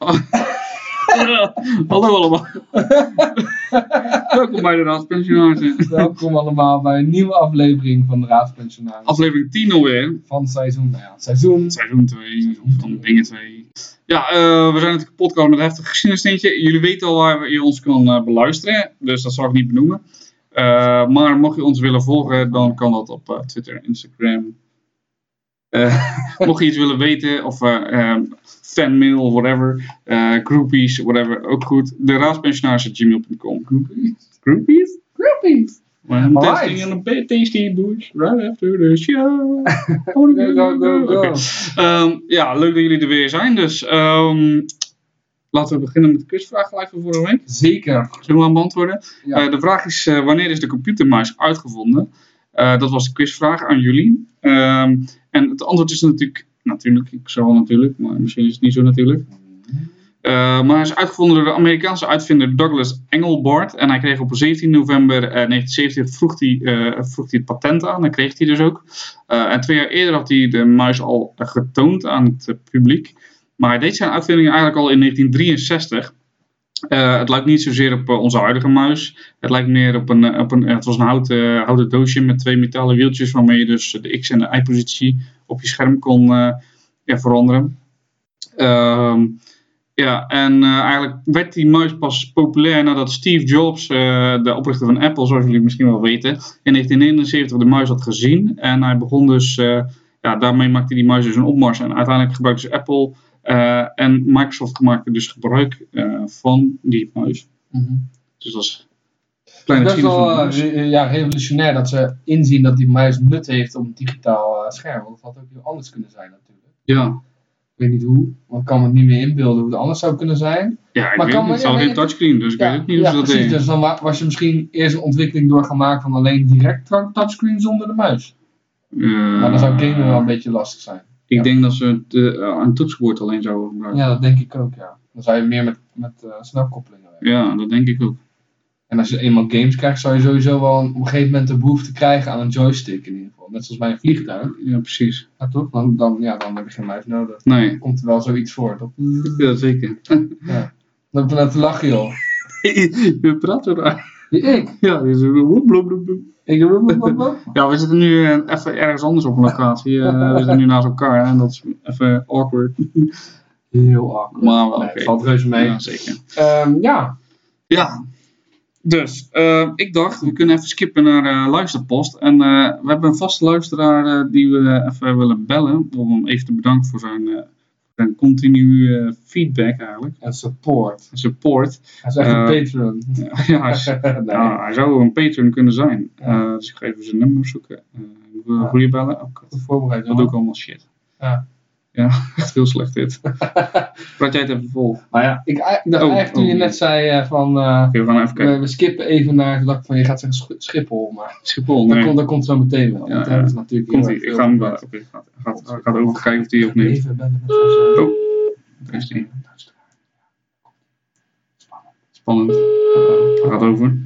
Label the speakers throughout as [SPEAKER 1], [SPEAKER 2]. [SPEAKER 1] Oh. Hallo allemaal. Welkom bij de eh. Raadspensionarissen.
[SPEAKER 2] Welkom allemaal bij een nieuwe aflevering van de Raadspensionaris.
[SPEAKER 1] Aflevering 10 alweer.
[SPEAKER 2] van seizoen, nou ja, het seizoen.
[SPEAKER 1] Seizoen 2 of dan dingen 2. Ja, eh, we zijn natuurlijk een podcast met een heftig geschiedenisstintje. Jullie weten al waar je ons kan eh, beluisteren, dus dat zal ik niet benoemen. Eh, maar mocht je ons willen volgen, dan kan dat op eh, Twitter, Instagram. Eh, mocht je iets willen weten, of eh, eh, fanmail, whatever, eh, groupies, whatever, ook goed. De raadspensionaris.gmail.com. Groupies?
[SPEAKER 2] Groupies!
[SPEAKER 1] I'm
[SPEAKER 2] All
[SPEAKER 1] testing
[SPEAKER 2] right.
[SPEAKER 1] on a bit tasty boots right after the show.
[SPEAKER 2] Go, go, go, go.
[SPEAKER 1] Oké. Ehm, ja, leuk dat jullie er weer zijn. Dus ehm, laten we beginnen met de quizvraag gelijk van vorige week.
[SPEAKER 2] Zeker.
[SPEAKER 1] Zullen we aan beantwoorden?
[SPEAKER 2] Ja.
[SPEAKER 1] Eh, de vraag is, eh, wanneer is de computermuis uitgevonden? Eh, dat was de quizvraag aan jullie. Ehm, en het antwoord is natuurlijk, natuurlijk, ik zou wel natuurlijk, maar misschien is het niet zo natuurlijk. Eh, maar hij is uitgevonden door de Amerikaanse uitvinder Douglas Engelbart. En hij kreeg op 17 november eh, 1970 vroeg hij, eh, vroeg hij het patent aan. Dat kreeg hij dus ook. Eh, en twee jaar eerder had hij de muis al eh, getoond aan het eh, publiek. Maar hij deed zijn uitvinding eigenlijk al in 1963. Eh, het lijkt niet zozeer op eh, onze huidige muis. Het lijkt meer op een, eh, op een eh, het was een houten, houten doosje met twee metalen wieltjes waarmee je dus de X- en de Y-positie op je scherm kon eh, ja, veranderen. Ehm ja, en eh, eigenlijk werd die muis pas populair nadat Steve Jobs, eh, de oprichter van Apple, zoals jullie misschien wel weten, in 1979 de muis had gezien. En hij begon dus, eh, ja, daarmee maakte die muis dus een opmars. En uiteindelijk gebruikte dus Apple eh, en Microsoft maakten dus gebruik eh, van die muis. Dus dat is een kleine
[SPEAKER 2] Mhm. Best
[SPEAKER 1] geschiedenis van
[SPEAKER 2] wel
[SPEAKER 1] de
[SPEAKER 2] eh,
[SPEAKER 1] muis.
[SPEAKER 2] re- ja, revolutionair dat ze inzien dat die muis nut heeft op een digitaal eh, scherm. Want dat had ook heel anders kunnen zijn natuurlijk.
[SPEAKER 1] Ja,
[SPEAKER 2] Ik weet niet hoe, want ik kan me niet meer inbeelden hoe het anders zou kunnen zijn.
[SPEAKER 1] ja ik
[SPEAKER 2] Maar
[SPEAKER 1] weet het niet.
[SPEAKER 2] kan
[SPEAKER 1] Het
[SPEAKER 2] maar-
[SPEAKER 1] was
[SPEAKER 2] ja,
[SPEAKER 1] geen
[SPEAKER 2] maar-
[SPEAKER 1] touchscreen, dus ik weet ook niet
[SPEAKER 2] ja,
[SPEAKER 1] hoe ze dat
[SPEAKER 2] precies.
[SPEAKER 1] deden.
[SPEAKER 2] Dus dan wa- was je misschien eerst een ontwikkeling doorgemaakt van alleen direct tra- touchscreen zonder de muis.
[SPEAKER 1] Eh,
[SPEAKER 2] dus- Maar dan zou gamen wel een beetje lastig zijn.
[SPEAKER 1] Ik
[SPEAKER 2] ja.
[SPEAKER 1] denk dat ze het, eh, een toetsenbord alleen zouden gebruiken.
[SPEAKER 2] Ja, dat denk ik ook, ja. Dan zou je meer met, met eh, snelkoppelingen werken.
[SPEAKER 1] Ja, dat denk ik ook.
[SPEAKER 2] En als je eenmaal games krijgt, zou je sowieso wel een- op een gegeven moment de behoefte krijgen aan een joystick in ieder geval. Net zoals bij een vliegtuig.
[SPEAKER 1] Ja, precies.
[SPEAKER 2] Ja, toch? Dan, dan, ja, dan heb je geen muis nodig.
[SPEAKER 1] Nee,
[SPEAKER 2] Komt er wel zoiets voor, toch?
[SPEAKER 1] ja, zeker.
[SPEAKER 2] Dan dat lach je al.
[SPEAKER 1] Je praat zo raar.
[SPEAKER 2] Ik?
[SPEAKER 1] Ja, dit is bloep, bloep, bloep, bloep.
[SPEAKER 2] Ik roep roep, roep, roep.
[SPEAKER 1] Ja, we zitten nu eh, even ergens anders op een locatie. Eh, we zitten nu naast elkaar en dat is even awkward.
[SPEAKER 2] Heel awkward.
[SPEAKER 1] Maar wel
[SPEAKER 2] Nee,
[SPEAKER 1] oké.
[SPEAKER 2] het valt reuze mee.
[SPEAKER 1] Ja, zeker.
[SPEAKER 2] Ehm, ja.
[SPEAKER 1] Ja. Dus, eh, ik dacht, we kunnen even skippen naar eh, luisterpost. En eh, we hebben een vaste luisteraar eh, die we even willen bellen. Om hem even te bedanken voor zijn, eh, zijn continue eh, feedback eigenlijk.
[SPEAKER 2] En support.
[SPEAKER 1] Support.
[SPEAKER 2] Hij is echt
[SPEAKER 1] Eh,
[SPEAKER 2] een patron.
[SPEAKER 1] ja, hij is-
[SPEAKER 2] Nee.
[SPEAKER 1] Ja, hij zou een patron kunnen zijn.
[SPEAKER 2] Ja.
[SPEAKER 1] Eh, dus ik ga even zijn nummer zoeken. Eh ik wil
[SPEAKER 2] Ja.
[SPEAKER 1] goede bellen. Oh, kut.
[SPEAKER 2] Goed voorbereid,
[SPEAKER 1] dat doe ik allemaal shit.
[SPEAKER 2] Ja.
[SPEAKER 1] Ja, echt heel slecht dit. Praat jij het even vol. Oké,
[SPEAKER 2] Maar ja, ik, ik dacht
[SPEAKER 1] Oh,
[SPEAKER 2] eigenlijk toen je
[SPEAKER 1] oh.
[SPEAKER 2] net zei eh, van... eh,
[SPEAKER 1] we gaan even kijken.
[SPEAKER 2] we, we skippen even naar het dak van je gaat zeggen Sch- Schiphol, maar...
[SPEAKER 1] Schiphol,
[SPEAKER 2] Dat,
[SPEAKER 1] nee.
[SPEAKER 2] komt, dat komt zo meteen wel.
[SPEAKER 1] Ja,
[SPEAKER 2] want
[SPEAKER 1] ja.
[SPEAKER 2] daar is natuurlijk
[SPEAKER 1] Komt
[SPEAKER 2] heel
[SPEAKER 1] hij.
[SPEAKER 2] erg
[SPEAKER 1] Ik
[SPEAKER 2] veel
[SPEAKER 1] ga hem
[SPEAKER 2] gebeurd.
[SPEAKER 1] bellen. Oké, gaat, gaat, gaat over kijken of hij opneemt.
[SPEAKER 2] Even bellen met onze-
[SPEAKER 1] Oh, Daar is hij. Spannend.
[SPEAKER 2] Spannend.
[SPEAKER 1] Hij gaat over.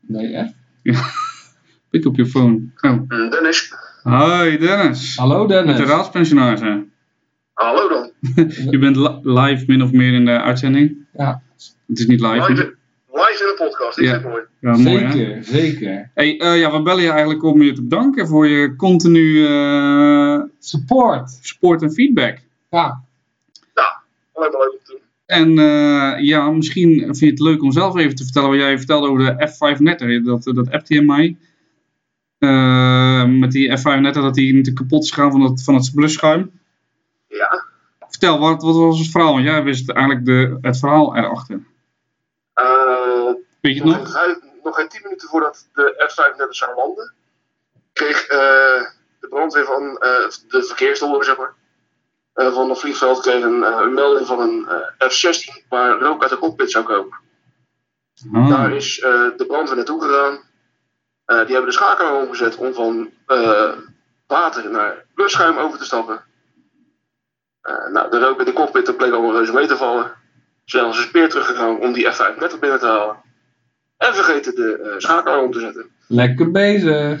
[SPEAKER 2] Nee, echt?
[SPEAKER 1] Pik op je phone. Oh.
[SPEAKER 3] Mm, Dennis.
[SPEAKER 1] Hi Dennis.
[SPEAKER 2] Hallo Dennis.
[SPEAKER 1] Met de raadspensionaris hè?
[SPEAKER 3] Hallo dan.
[SPEAKER 1] Je bent li- live min of meer in de uitzending.
[SPEAKER 2] Ja,
[SPEAKER 1] Het is niet live.
[SPEAKER 3] Live, in- live in de podcast, dit
[SPEAKER 1] Ja.
[SPEAKER 3] is het mooi.
[SPEAKER 1] Ja, mooi, hè?
[SPEAKER 2] zeker, zeker.
[SPEAKER 1] Hey, eh, ja, we bellen je eigenlijk om je te bedanken voor je continu eh
[SPEAKER 2] Support.
[SPEAKER 1] support en feedback.
[SPEAKER 2] Ja,
[SPEAKER 3] Alleen maar leuk om te doen.
[SPEAKER 1] En eh, ja, misschien vind je het leuk om zelf even te vertellen wat jij vertelde over de F35, dat, dat appte je mij. Eh, met die F35 dat die natuurlijk kapot is gegaan van het, van het blusschuim.
[SPEAKER 3] Ja.
[SPEAKER 1] Vertel, wat, wat was het verhaal? Want jij wist eigenlijk de, het verhaal erachter.
[SPEAKER 3] Eh,
[SPEAKER 1] Weet je het
[SPEAKER 3] nog,
[SPEAKER 1] nog?
[SPEAKER 3] geen- nog geen 10 minuten voordat de F35 zou landen, kreeg eh, de brandweer van eh, de verkeersdoel, zeg maar, eh, van het vliegveld kreeg een, eh, een melding van een eh, F16 waar rook uit de cockpit zou komen.
[SPEAKER 2] Hmm.
[SPEAKER 3] Daar
[SPEAKER 1] Ah,
[SPEAKER 3] is eh, de brandweer naartoe gegaan. Eh, die hebben de schakelaar omgezet om van eh, water naar blusschuim over te stappen. Eh, nou, de rook in de cockpit dat bleek allemaal reuze mee te vallen. Ze zijn als een speer teruggegaan om die F35 binnen te halen. En vergeten de eh, schakelaar om te zetten.
[SPEAKER 2] lekker bezig.
[SPEAKER 1] Ah,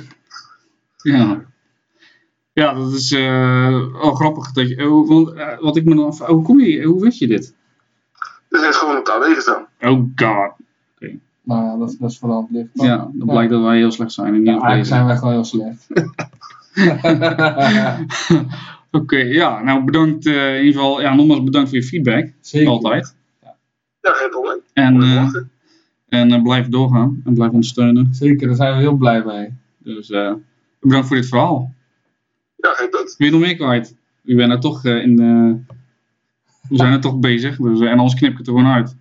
[SPEAKER 1] ja. ja, dat is oh, eh wel grappig. Dat je, eh, want, eh, wat ik me dan af, hoe kom je, hoe weet je dit?
[SPEAKER 3] Dus heeft gewoon op de AW gestaan.
[SPEAKER 1] Oh god.
[SPEAKER 2] Nou ja, dat, dat is vooral het licht.
[SPEAKER 1] Ja, dan blijkt dat wij heel slecht zijn in
[SPEAKER 2] Ja,
[SPEAKER 1] ieder geval.
[SPEAKER 2] eigenlijk zijn wij gewoon heel slecht.
[SPEAKER 1] Oké, ja. Nou, bedankt eh, in ieder geval. Ja, nogmaals bedankt voor je feedback.
[SPEAKER 2] Zeker.
[SPEAKER 1] Altijd.
[SPEAKER 3] Ja, geen probleem.
[SPEAKER 2] Hmm.
[SPEAKER 1] En,
[SPEAKER 3] Mooi
[SPEAKER 1] eh,
[SPEAKER 3] lachen.
[SPEAKER 1] en eh, blijf doorgaan. En blijf ons steunen.
[SPEAKER 2] Zeker, daar zijn we heel blij mee.
[SPEAKER 1] Dus eh, bedankt voor dit verhaal.
[SPEAKER 3] Ja, geen punt.
[SPEAKER 1] Wil je nog meer kwijt? U bent er toch eh, in de... We zijn er toch bezig. Dus, eh, en anders knip ik het er gewoon uit.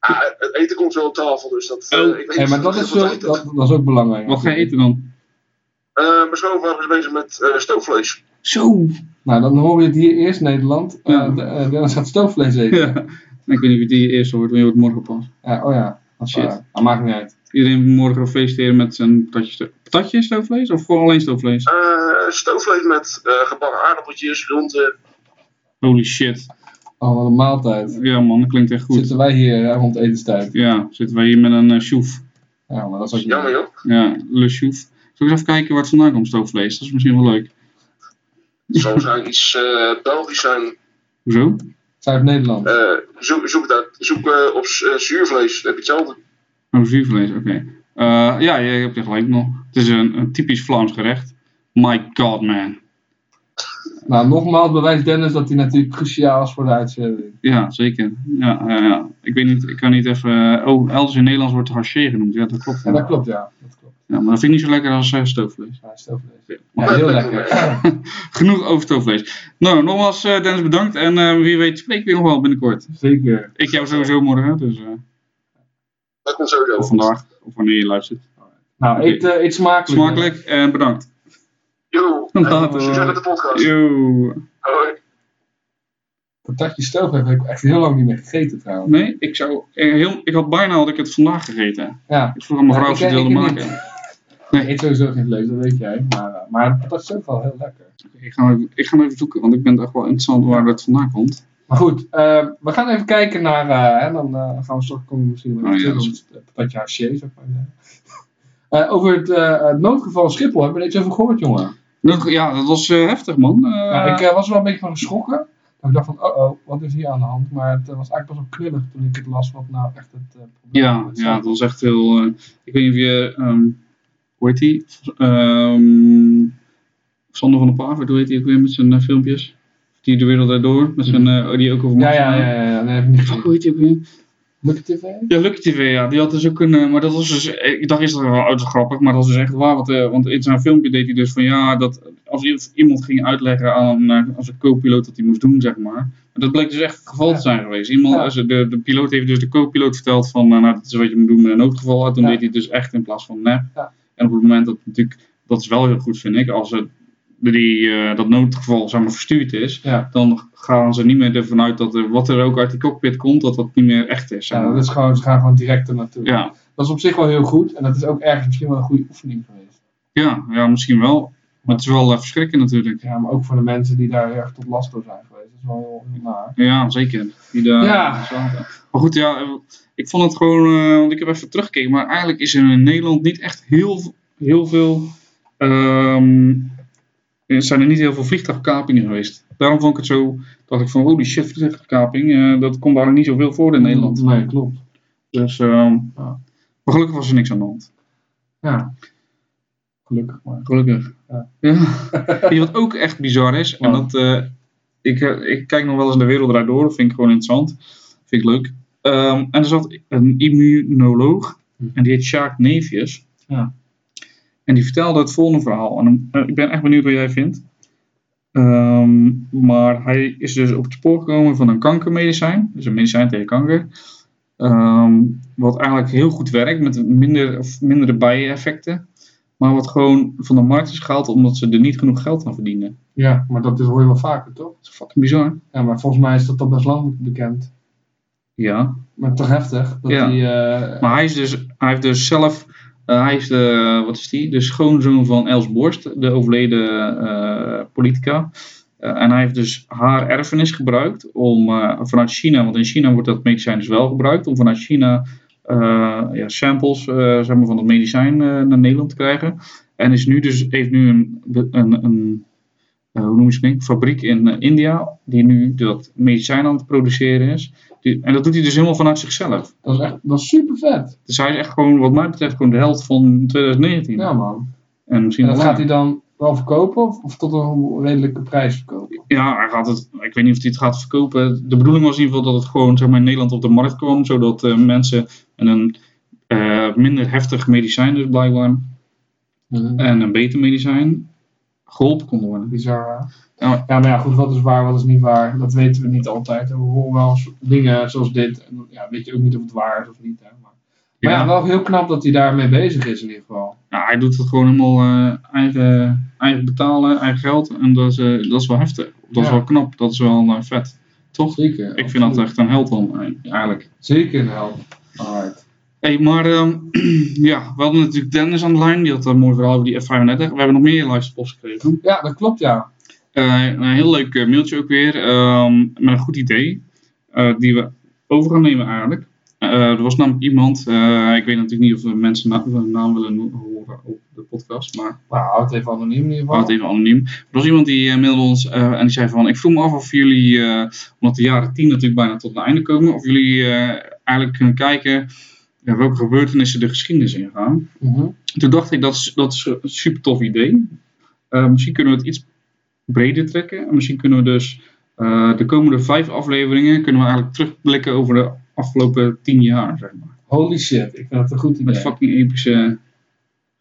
[SPEAKER 3] Ah, het eten komt wel op tafel, dus dat... eh,
[SPEAKER 1] Oh.
[SPEAKER 3] ik weet
[SPEAKER 2] Hey,
[SPEAKER 3] niet
[SPEAKER 2] maar dat
[SPEAKER 3] of
[SPEAKER 2] is,
[SPEAKER 3] het
[SPEAKER 2] wel-
[SPEAKER 3] eten.
[SPEAKER 2] dat, dat is ook belangrijk.
[SPEAKER 1] Wat ga je eten dan?
[SPEAKER 3] Eh, Mijn schoonvader is bezig met eh, stoofvlees.
[SPEAKER 1] Zo!
[SPEAKER 2] Nou, dan hoor je het hier eerst Nederland. Eh
[SPEAKER 1] Ja.
[SPEAKER 2] de- eh, Dennis gaat stoofvlees eten.
[SPEAKER 1] Ja. Ik weet niet of je die eerst hoort, want je hoort morgen pas.
[SPEAKER 2] Ja, oh ja, dat is
[SPEAKER 1] Shit.
[SPEAKER 2] waar. Dat maakt niet uit.
[SPEAKER 1] Iedereen moet morgen feesteren met zijn patatje. sto- Patatje en stoofvlees? Of gewoon alleen stoofvlees?
[SPEAKER 3] Eh, stoofvlees met eh, gebakken aardappeltjes, groenten.
[SPEAKER 1] Holy shit.
[SPEAKER 2] Oh, wat een maaltijd.
[SPEAKER 1] Ja man, dat klinkt echt goed.
[SPEAKER 2] Zitten wij hier eh, rond etenstijd.
[SPEAKER 1] Ja, zitten wij hier met een eh, sjoef.
[SPEAKER 2] Ja, maar dat is ook niet
[SPEAKER 3] Jammer joh.
[SPEAKER 1] Ja, le sjoef. Zal ik eens even kijken waar het vandaan komt, stoofvlees? Dat is misschien wel leuk.
[SPEAKER 3] Het zal waarschijnlijk iets eh, Belgisch zijn.
[SPEAKER 1] Hoezo?
[SPEAKER 2] Zuid-Nederland.
[SPEAKER 3] Eh, zoek zoek, dat, zoek eh, op z- eh, zuurvlees, dan heb je hetzelfde.
[SPEAKER 1] Oh, zuurvlees, oké. Eh, ja, je hebt er gelijk nog. Het is een, een typisch Vlaams gerecht. My god, man.
[SPEAKER 2] Nou, nogmaals bewijst Dennis dat hij natuurlijk cruciaal is voor de uitzending.
[SPEAKER 1] Ja, zeker. Ja, ja, ja. Ik weet niet, ik kan niet even... oh, elders in Nederlands wordt haché genoemd. Ja, dat klopt.
[SPEAKER 2] Ja, dat klopt, ja. Dat klopt.
[SPEAKER 1] Ja, maar dat vind ik niet zo lekker als eh, stoofvlees.
[SPEAKER 2] Ja, stoofvlees.
[SPEAKER 1] Ja.
[SPEAKER 2] Ja, heel lekker.
[SPEAKER 1] Genoeg over stoofvlees. Nou, nogmaals, eh, Dennis, bedankt. En eh, wie weet spreek ik je nog wel binnenkort.
[SPEAKER 2] Zeker.
[SPEAKER 1] Ik jou sowieso morgen, dus... eh,
[SPEAKER 3] Dat komt sowieso.
[SPEAKER 1] of vandaag, of wanneer je luistert.
[SPEAKER 2] Nou, eet, eh, eet smakelijk.
[SPEAKER 1] Smakelijk en bedankt.
[SPEAKER 3] Yo,
[SPEAKER 1] Later.
[SPEAKER 3] succes met de podcast.
[SPEAKER 1] Yo.
[SPEAKER 3] Hoi.
[SPEAKER 2] Patatje stoofvlees heb ik echt heel lang niet meer gegeten trouwens.
[SPEAKER 1] Nee, ik zou... eh, heel, ik had bijna had ik het vandaag gegeten.
[SPEAKER 2] Ja.
[SPEAKER 1] Ik vroeg aan mijn
[SPEAKER 2] Ja,
[SPEAKER 1] vrouw of
[SPEAKER 2] ik-
[SPEAKER 1] ze het
[SPEAKER 2] ik
[SPEAKER 1] wilde
[SPEAKER 2] niet.
[SPEAKER 1] maken.
[SPEAKER 2] Ik eet sowieso geen vlees, dat weet jij. Maar, eh, maar patatje is ook wel heel lekker.
[SPEAKER 1] Ik ga, even- ik ga even zoeken, want ik ben echt wel interessant waar dat vandaan komt.
[SPEAKER 2] Maar goed, eh, we gaan even kijken naar. eh, hè, dan eh, gaan we straks komen we misschien wel
[SPEAKER 1] Oh ja,
[SPEAKER 2] terug
[SPEAKER 1] dat
[SPEAKER 2] op
[SPEAKER 1] is-
[SPEAKER 2] het eh, patatje haché, zou ik maar zeggen. Eh, over het eh, het noodgeval Schiphol hebben we er iets over gehoord, jongen.
[SPEAKER 1] Dat- ja, dat was eh, heftig, man. Eh,
[SPEAKER 2] Ja, ik eh, was er wel een beetje van geschrokken. Ik dacht van, oh oh, wat is hier aan de hand? Maar het eh, was eigenlijk pas wel knullig toen ik het las wat nou echt het eh, probleem
[SPEAKER 1] ja,
[SPEAKER 2] was.
[SPEAKER 1] ja, dat was echt heel... eh, ik weet niet of je... ehm, hoe heet die? Ehm, Sander van der Pavert, hoe heet die ook weer met zijn eh, filmpjes? Die de wereld daardoor, met zijn... eh, die ook over
[SPEAKER 2] Hm. Ja, ja,
[SPEAKER 1] Mars-
[SPEAKER 2] ja, ja, ja, nee, heb ik niet
[SPEAKER 1] Fuck,
[SPEAKER 2] gezien.
[SPEAKER 1] hoe heet die ook weer?
[SPEAKER 2] Lucky TV?
[SPEAKER 1] Ja, Lucky TV, ja. Die had dus ook een... eh, maar dat was dus... eh, Ik dacht eerst dat wel oh, dat is grappig, maar dat was dus echt waar. Want, eh, want in zijn filmpje deed hij dus van... Ja, dat als i- iemand ging uitleggen aan eh, als een co-piloot dat hij moest doen, zeg maar. Maar dat bleek dus echt het geval te zijn geweest. Iemand,
[SPEAKER 2] Ja.
[SPEAKER 1] als de, de piloot heeft dus de co-piloot verteld van... eh, nou, dat is wat je moet doen met een noodgeval. En toen
[SPEAKER 2] Ja.
[SPEAKER 1] deed hij het dus echt in plaats van nep.
[SPEAKER 2] Ja.
[SPEAKER 1] En op het moment dat natuurlijk... Dat is wel heel goed, vind ik. Als het, die, eh, dat noodgeval, zeg maar, verstuurd is...
[SPEAKER 2] Ja.
[SPEAKER 1] Dan gaan ze niet meer ervan uit dat er, wat er ook uit die cockpit komt, dat dat niet meer echt is. zeg
[SPEAKER 2] Ja,
[SPEAKER 1] maar.
[SPEAKER 2] dat is gewoon, ze gaan gewoon direct er naartoe.
[SPEAKER 1] ja,
[SPEAKER 2] Dat is op zich wel heel goed en dat is ook ergens misschien wel een goede oefening geweest.
[SPEAKER 1] Ja, ja, misschien wel. Maar het is wel eh, verschrikkend natuurlijk.
[SPEAKER 2] Ja, maar ook voor de mensen die daar echt tot last door zijn geweest. Dat is wel heel, heel naar.
[SPEAKER 1] Ja, zeker. Die daar
[SPEAKER 2] Ja.
[SPEAKER 1] zaten. Maar goed, ja, eh, ik vond het gewoon, eh, want ik heb even teruggekeken, maar eigenlijk is er in Nederland niet echt heel, heel veel, ehm, er zijn er niet heel veel vliegtuigkapingen geweest. Daarom vond ik het zo, dacht ik van, holy shit, vliegtuigkaping, eh, dat komt daar niet zoveel voor in Nederland.
[SPEAKER 2] Mm, Nee, klopt.
[SPEAKER 1] Dus, ehm,
[SPEAKER 2] Ja.
[SPEAKER 1] maar gelukkig was er niks aan de hand.
[SPEAKER 2] Ja. Gelukkig maar.
[SPEAKER 1] Gelukkig.
[SPEAKER 2] Ja.
[SPEAKER 1] Die wat ook echt bizar is, en
[SPEAKER 2] Wow.
[SPEAKER 1] dat, eh, ik, eh, ik kijk nog wel eens de wereld draait door, dat vind ik gewoon interessant. Vind ik leuk. Ehm, en er zat een immunoloog,
[SPEAKER 2] Hm.
[SPEAKER 1] en die heet Sjaak Neefjes.
[SPEAKER 2] Ja.
[SPEAKER 1] En die vertelde het volgende verhaal. En dan- eh, ik ben echt benieuwd wat jij vindt. Ehm, maar hij is dus op het spoor gekomen van een kankermedicijn, dus een medicijn tegen kanker. Ehm, wat eigenlijk heel goed werkt met minder, of mindere bijeffecten. Maar wat gewoon van de markt is gehaald omdat ze er niet genoeg geld aan verdienen.
[SPEAKER 2] Ja, maar dat is, hoor je wel vaker, toch?
[SPEAKER 1] Dat is fucking bizar.
[SPEAKER 2] Ja, maar volgens mij is dat al best lang bekend.
[SPEAKER 1] Ja.
[SPEAKER 2] Maar toch heftig. Dat
[SPEAKER 1] Ja.
[SPEAKER 2] die, eh,
[SPEAKER 1] Maar hij, is dus, hij heeft dus zelf. eh, hij is de. Wat is die? De schoonzoon van Els Borst, de overleden eh, politica. Eh, en hij heeft dus haar erfenis gebruikt om eh, vanuit China, want in China wordt dat medicijn dus wel gebruikt, om vanuit China eh, ja, samples eh, zeg maar, van het medicijn eh, naar Nederland te krijgen. En is nu dus, heeft nu een, be- een, een eh, hoe noem je het, fabriek in eh, India, die nu dat medicijn aan het produceren is. Die, en dat doet hij dus helemaal vanuit zichzelf.
[SPEAKER 2] Dat is echt dat is super vet.
[SPEAKER 1] Dus hij is echt gewoon, wat mij betreft, gewoon de held van 2019.
[SPEAKER 2] Ja, man.
[SPEAKER 1] En misschien
[SPEAKER 2] En dat
[SPEAKER 1] wel
[SPEAKER 2] gaat hij
[SPEAKER 1] langer.
[SPEAKER 2] dan wel verkopen of, of tot een redelijke prijs verkopen?
[SPEAKER 1] Ja, hij gaat het, ik weet niet of hij het gaat verkopen. De bedoeling was in ieder geval dat het gewoon zeg maar, in Nederland op de markt kwam, zodat eh, mensen een eh, minder heftig medicijn, dus blijkbaar, en een beter medicijn geholpen kon worden.
[SPEAKER 2] Bizar. hè?
[SPEAKER 1] Ja, maar-
[SPEAKER 2] Ja, maar ja, goed, wat is waar, wat is niet waar, dat weten we niet altijd. En We horen wel eens dingen zoals dit. En dan, ja, weet je ook niet of het waar is of niet. Hè? Maar, maar ja.
[SPEAKER 1] Ja.
[SPEAKER 2] wel heel knap dat hij daarmee bezig is in ieder geval.
[SPEAKER 1] Ja, hij doet het gewoon helemaal eh, eigen, eigen betalen, eigen geld. En dat is, eh, dat is wel heftig. Dat is
[SPEAKER 2] Ja.
[SPEAKER 1] wel knap, dat is wel eh, vet. Toch?
[SPEAKER 2] Zeker.
[SPEAKER 1] Ik vind dat echt een held dan, eh, eigenlijk.
[SPEAKER 2] Zeker wel. Alright.
[SPEAKER 1] hey, maar ehm, ja, we hadden natuurlijk Dennis aan de lijn. Die had een mooi verhaal over die F35. We hebben nog meer luisterpost gekregen.
[SPEAKER 2] Ja, dat klopt ja.
[SPEAKER 1] Eh, een heel leuk eh, mailtje ook weer. ehm, met een goed idee. eh, die we over gaan nemen eigenlijk. Eh, er was namelijk iemand. eh, ik weet natuurlijk niet of we mensen na- naam willen no- horen op de podcast. Maar
[SPEAKER 2] Nou, houd het even anoniem in ieder
[SPEAKER 1] We
[SPEAKER 2] geval.
[SPEAKER 1] houden het even anoniem. Er was iemand die eh, mailde ons eh, en die zei van... Ik vroeg me af of jullie, eh, omdat de jaren 10 natuurlijk bijna tot een einde komen... of jullie eh, eigenlijk kunnen kijken eh, welke gebeurtenissen de geschiedenis ingaan.
[SPEAKER 2] Mhm.
[SPEAKER 1] Toen dacht ik, dat is, dat is een super tof idee. Eh, misschien kunnen we het iets breder trekken. En misschien kunnen we dus eh, de komende vijf afleveringen... kunnen we eigenlijk terugblikken over de afgelopen tien jaar, zeg maar.
[SPEAKER 2] Holy shit, ik vind het een goed
[SPEAKER 1] Met
[SPEAKER 2] idee.
[SPEAKER 1] fucking epische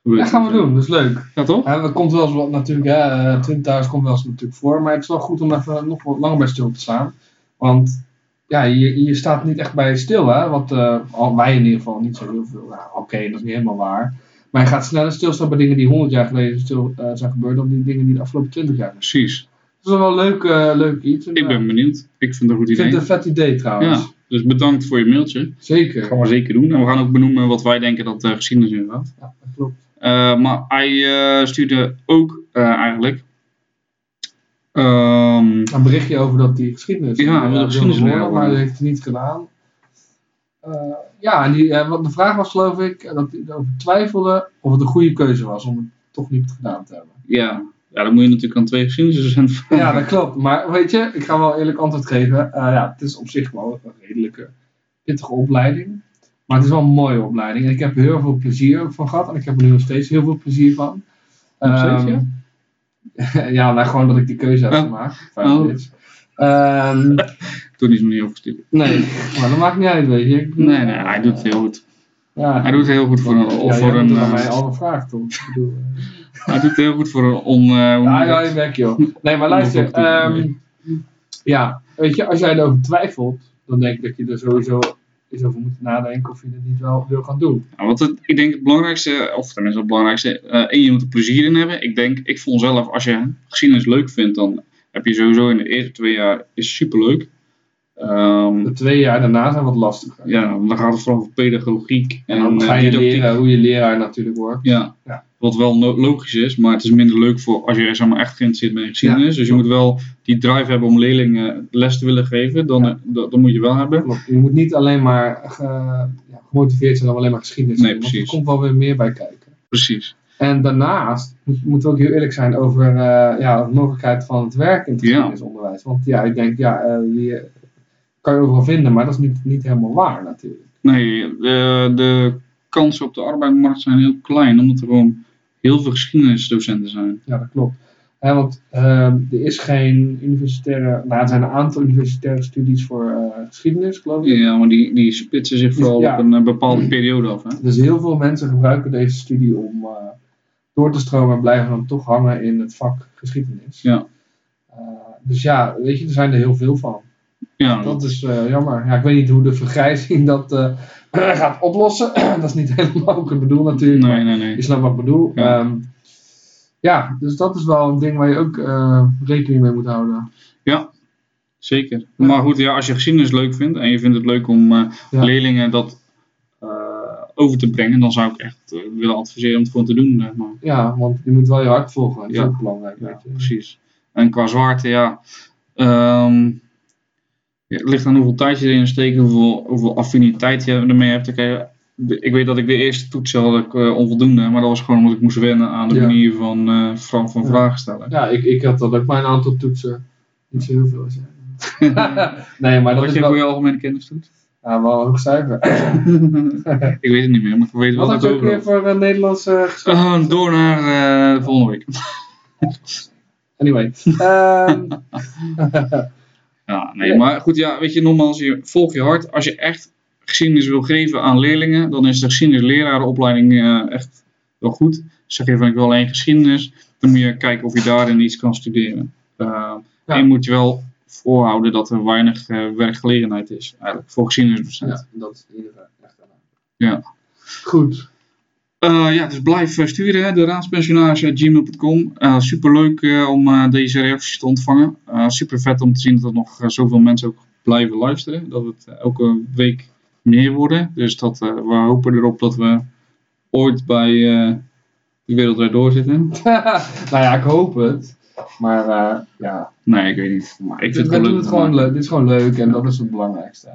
[SPEAKER 2] Dat gaan we doen, dat is leuk.
[SPEAKER 1] Ja, toch?
[SPEAKER 2] Ja, dat komt wel eens wat natuurlijk, hè, eh, Twin Towers komt wel eens natuurlijk voor, maar het is wel goed om even nog wat langer bij stil te staan. Want ja, je, je staat niet echt bij stil, hè? Want eh, al wij in ieder geval niet zo heel veel. Nou, Oké, dat is niet helemaal waar. Maar je gaat sneller stilstaan bij dingen die 100 jaar geleden stil, eh, zijn gebeurd dan die dingen die de afgelopen 20 jaar zijn.
[SPEAKER 1] Precies.
[SPEAKER 2] Dus dat is wel een leuk, eh, leuk iets. En,
[SPEAKER 1] Ik
[SPEAKER 2] eh,
[SPEAKER 1] ben benieuwd. Ik vind het een goed
[SPEAKER 2] ik vind
[SPEAKER 1] idee.
[SPEAKER 2] het een vet idee trouwens.
[SPEAKER 1] Ja, dus bedankt voor je mailtje. Dat
[SPEAKER 2] Zeker.
[SPEAKER 1] gaan we zeker doen. En we gaan ook benoemen wat wij denken dat eh, de geschiedenis in gaat.
[SPEAKER 2] Ja, dat klopt.
[SPEAKER 1] Eh, maar hij eh, stuurde ook eh, eigenlijk. ehm,
[SPEAKER 2] Een berichtje over dat die geschiedenis.
[SPEAKER 1] Ja,
[SPEAKER 2] die,
[SPEAKER 1] we willen
[SPEAKER 2] eh,
[SPEAKER 1] geschiedenis
[SPEAKER 2] wilde
[SPEAKER 1] leren
[SPEAKER 2] horen, maar dat
[SPEAKER 1] worden.
[SPEAKER 2] heeft hij niet gedaan. Eh, ja, en die, eh, wat de vraag was geloof ik, eh, dat hij erover twijfelde of het een goede keuze was om het toch niet gedaan te hebben.
[SPEAKER 1] ja. ja, dan moet je natuurlijk aan twee dus geschiedenisdocenten vragen.
[SPEAKER 2] Ja, dat klopt. Maar weet je, ik ga wel eerlijk antwoord geven. Eh, ja, het is op zich wel een redelijke pittige opleiding. Maar het is wel een mooie opleiding. En ik heb er heel veel plezier ook van gehad. En ik heb er nu nog steeds heel veel plezier van.
[SPEAKER 1] Nog steeds,
[SPEAKER 2] Ehm, ja, nou gewoon dat ik die keuze heb
[SPEAKER 1] Oh.
[SPEAKER 2] gemaakt.
[SPEAKER 1] Oh.
[SPEAKER 2] Ehm,
[SPEAKER 1] Toen is me niet overgestuurd.
[SPEAKER 2] Nee, maar dat maakt niet uit, weet je. Ik bedoel,
[SPEAKER 1] Nee, nee, hij doet het heel goed.
[SPEAKER 2] Ja.
[SPEAKER 1] Hij doet het heel goed voor een.
[SPEAKER 2] Ja,
[SPEAKER 1] of
[SPEAKER 2] jij
[SPEAKER 1] voor
[SPEAKER 2] moet
[SPEAKER 1] een
[SPEAKER 2] het aan
[SPEAKER 1] eh,
[SPEAKER 2] mij al gevraagd, toch? Ik bedoel, eh,
[SPEAKER 1] hij doet het heel goed voor een on. eh, hoe noem
[SPEAKER 2] Ja,
[SPEAKER 1] je
[SPEAKER 2] ja,
[SPEAKER 1] dat?
[SPEAKER 2] je bek, joh. Nee, maar luister.
[SPEAKER 1] Onbevoegde
[SPEAKER 2] ehm, ja, weet je, als jij erover twijfelt, dan denk ik dat je er sowieso eens over moet nadenken of je het niet wel wil gaan doen.
[SPEAKER 1] Ja, want het, ik denk het belangrijkste, of tenminste het belangrijkste, eh één, je moet er plezier in hebben. Ik denk, ik vond zelf, als je geschiedenis leuk vindt, dan heb je sowieso in de eerste twee jaar, is superleuk. Ehm
[SPEAKER 2] De twee jaar daarna zijn wat lastiger.
[SPEAKER 1] ja, want dan gaat het vooral over pedagogiek en,
[SPEAKER 2] En dan
[SPEAKER 1] eh,
[SPEAKER 2] ga je
[SPEAKER 1] didactiek.
[SPEAKER 2] leren hoe je leraar natuurlijk wordt.
[SPEAKER 1] Ja,
[SPEAKER 2] Ja.
[SPEAKER 1] wat wel no- logisch is, maar het is minder leuk voor als je zeg maar, echt geïnteresseerd bent in geschiedenis. dus je moet wel die drive hebben om leerlingen les te willen geven, dan,
[SPEAKER 2] Ja.
[SPEAKER 1] eh, dat, dat moet je wel hebben.
[SPEAKER 2] Klopt. Je moet niet alleen maar ge- ja, gemotiveerd zijn om alleen maar geschiedenis te
[SPEAKER 1] Nee,
[SPEAKER 2] doen, want
[SPEAKER 1] precies.
[SPEAKER 2] Er komt wel weer meer bij kijken.
[SPEAKER 1] Precies.
[SPEAKER 2] En daarnaast moet- moeten we ook heel eerlijk zijn over eh, ja, de mogelijkheid van het werk in het
[SPEAKER 1] Ja.
[SPEAKER 2] geschiedenisonderwijs. Want ja, ik denk, ja, eh, die eh, kan je overal vinden, maar dat is niet, niet helemaal waar natuurlijk.
[SPEAKER 1] Nee, de, de kansen op de arbeidsmarkt zijn heel klein, omdat er gewoon heel veel geschiedenisdocenten zijn.
[SPEAKER 2] Ja, dat klopt. Hè, want ehm, er is geen universitaire, nou er zijn een aantal universitaire studies voor eh, geschiedenis, geloof ik.
[SPEAKER 1] Ja, maar die, die spitsen zich vooral
[SPEAKER 2] Ja.
[SPEAKER 1] op een eh, bepaalde periode af. Hè?
[SPEAKER 2] Dus heel veel mensen gebruiken deze studie om eh, door te stromen en blijven dan toch hangen in het vak geschiedenis.
[SPEAKER 1] Ja.
[SPEAKER 2] Eh, dus ja, weet je, er zijn er heel veel van.
[SPEAKER 1] Ja,
[SPEAKER 2] Dat is eh, jammer. Ja, ik weet niet hoe de vergrijzing dat eh, gaat oplossen. dat is niet helemaal ook het bedoel natuurlijk.
[SPEAKER 1] nee,
[SPEAKER 2] maar
[SPEAKER 1] nee, nee.
[SPEAKER 2] Je snapt wat ik bedoel.
[SPEAKER 1] Ja.
[SPEAKER 2] Ja. ja, dus dat is wel een ding waar je ook eh, rekening mee moet houden.
[SPEAKER 1] Zeker. Maar goed, ja, als je geschiedenis leuk vindt en je vindt het leuk om eh,
[SPEAKER 2] Ja.
[SPEAKER 1] leerlingen dat eh, over te brengen, dan zou ik echt eh, willen adviseren om het gewoon te doen. zeg maar.
[SPEAKER 2] Ja, want je moet wel je hart volgen. Dat is
[SPEAKER 1] Ja.
[SPEAKER 2] ook belangrijk.
[SPEAKER 1] Ja,
[SPEAKER 2] weet je.
[SPEAKER 1] precies. En qua zwaarte, ja. ehm, ja, het ligt aan hoeveel tijd je erin steekt, hoeveel, hoeveel affiniteit je ermee hebt. Dan kan je de- ik weet dat ik de eerste toets had ik eh, onvoldoende, maar dat was gewoon omdat ik moest wennen aan de
[SPEAKER 2] Ja.
[SPEAKER 1] manier van, eh, van, van
[SPEAKER 2] Ja.
[SPEAKER 1] vragen stellen.
[SPEAKER 2] Ja, ik, ik had dat ook maar een aantal toetsen. Niet zo heel veel. als jij. nee, maar
[SPEAKER 1] Wat
[SPEAKER 2] dat is
[SPEAKER 1] je
[SPEAKER 2] wel,
[SPEAKER 1] voor je algemene kennis doet?
[SPEAKER 2] ja, wel een hoog cijfer.
[SPEAKER 1] ik weet het niet meer, maar ik weet wel
[SPEAKER 2] Wat had
[SPEAKER 1] dat ik
[SPEAKER 2] je ook weer
[SPEAKER 1] over
[SPEAKER 2] voor eh, Nederlands eh, ges-
[SPEAKER 1] Eh, Door naar eh, de volgende week.
[SPEAKER 2] Anyway. Ehm,
[SPEAKER 1] Ja, nee, maar goed, ja, weet je, nogmaals, je, volg je hart. Als je echt geschiedenis wil geven aan leerlingen, dan is de geschiedenislerarenopleiding eh, echt wel goed. Zeg je van, ik wil alleen geschiedenis, dan moet je kijken of je daarin iets kan studeren. Eh,
[SPEAKER 2] Ja.
[SPEAKER 1] En je moet je wel voorhouden dat er weinig eh, werkgelegenheid is, eigenlijk, voor geschiedenisdocenten.
[SPEAKER 2] ja, dat is in ieder geval echt een-
[SPEAKER 1] Ja.
[SPEAKER 2] Goed.
[SPEAKER 1] Eh, ja, dus blijf eh, sturen, hè. de raadspensionaris.gmail.com. Eh superleuk eh, om eh, deze reacties te ontvangen. Eh super vet om te zien dat er nog eh, zoveel mensen ook blijven luisteren. Dat het eh, elke week meer worden. Dus dat, eh, we hopen erop dat we ooit bij eh de wereld weer doorzitten.
[SPEAKER 2] nou ja, ik hoop het. Maar eh, ja,
[SPEAKER 1] Nee, ik weet niet. Maar ik vind het
[SPEAKER 2] we
[SPEAKER 1] gewoon leuk.
[SPEAKER 2] doen het
[SPEAKER 1] om eh, te
[SPEAKER 2] gewoon
[SPEAKER 1] maken.
[SPEAKER 2] leuk. Dit is gewoon leuk en dat is het belangrijkste.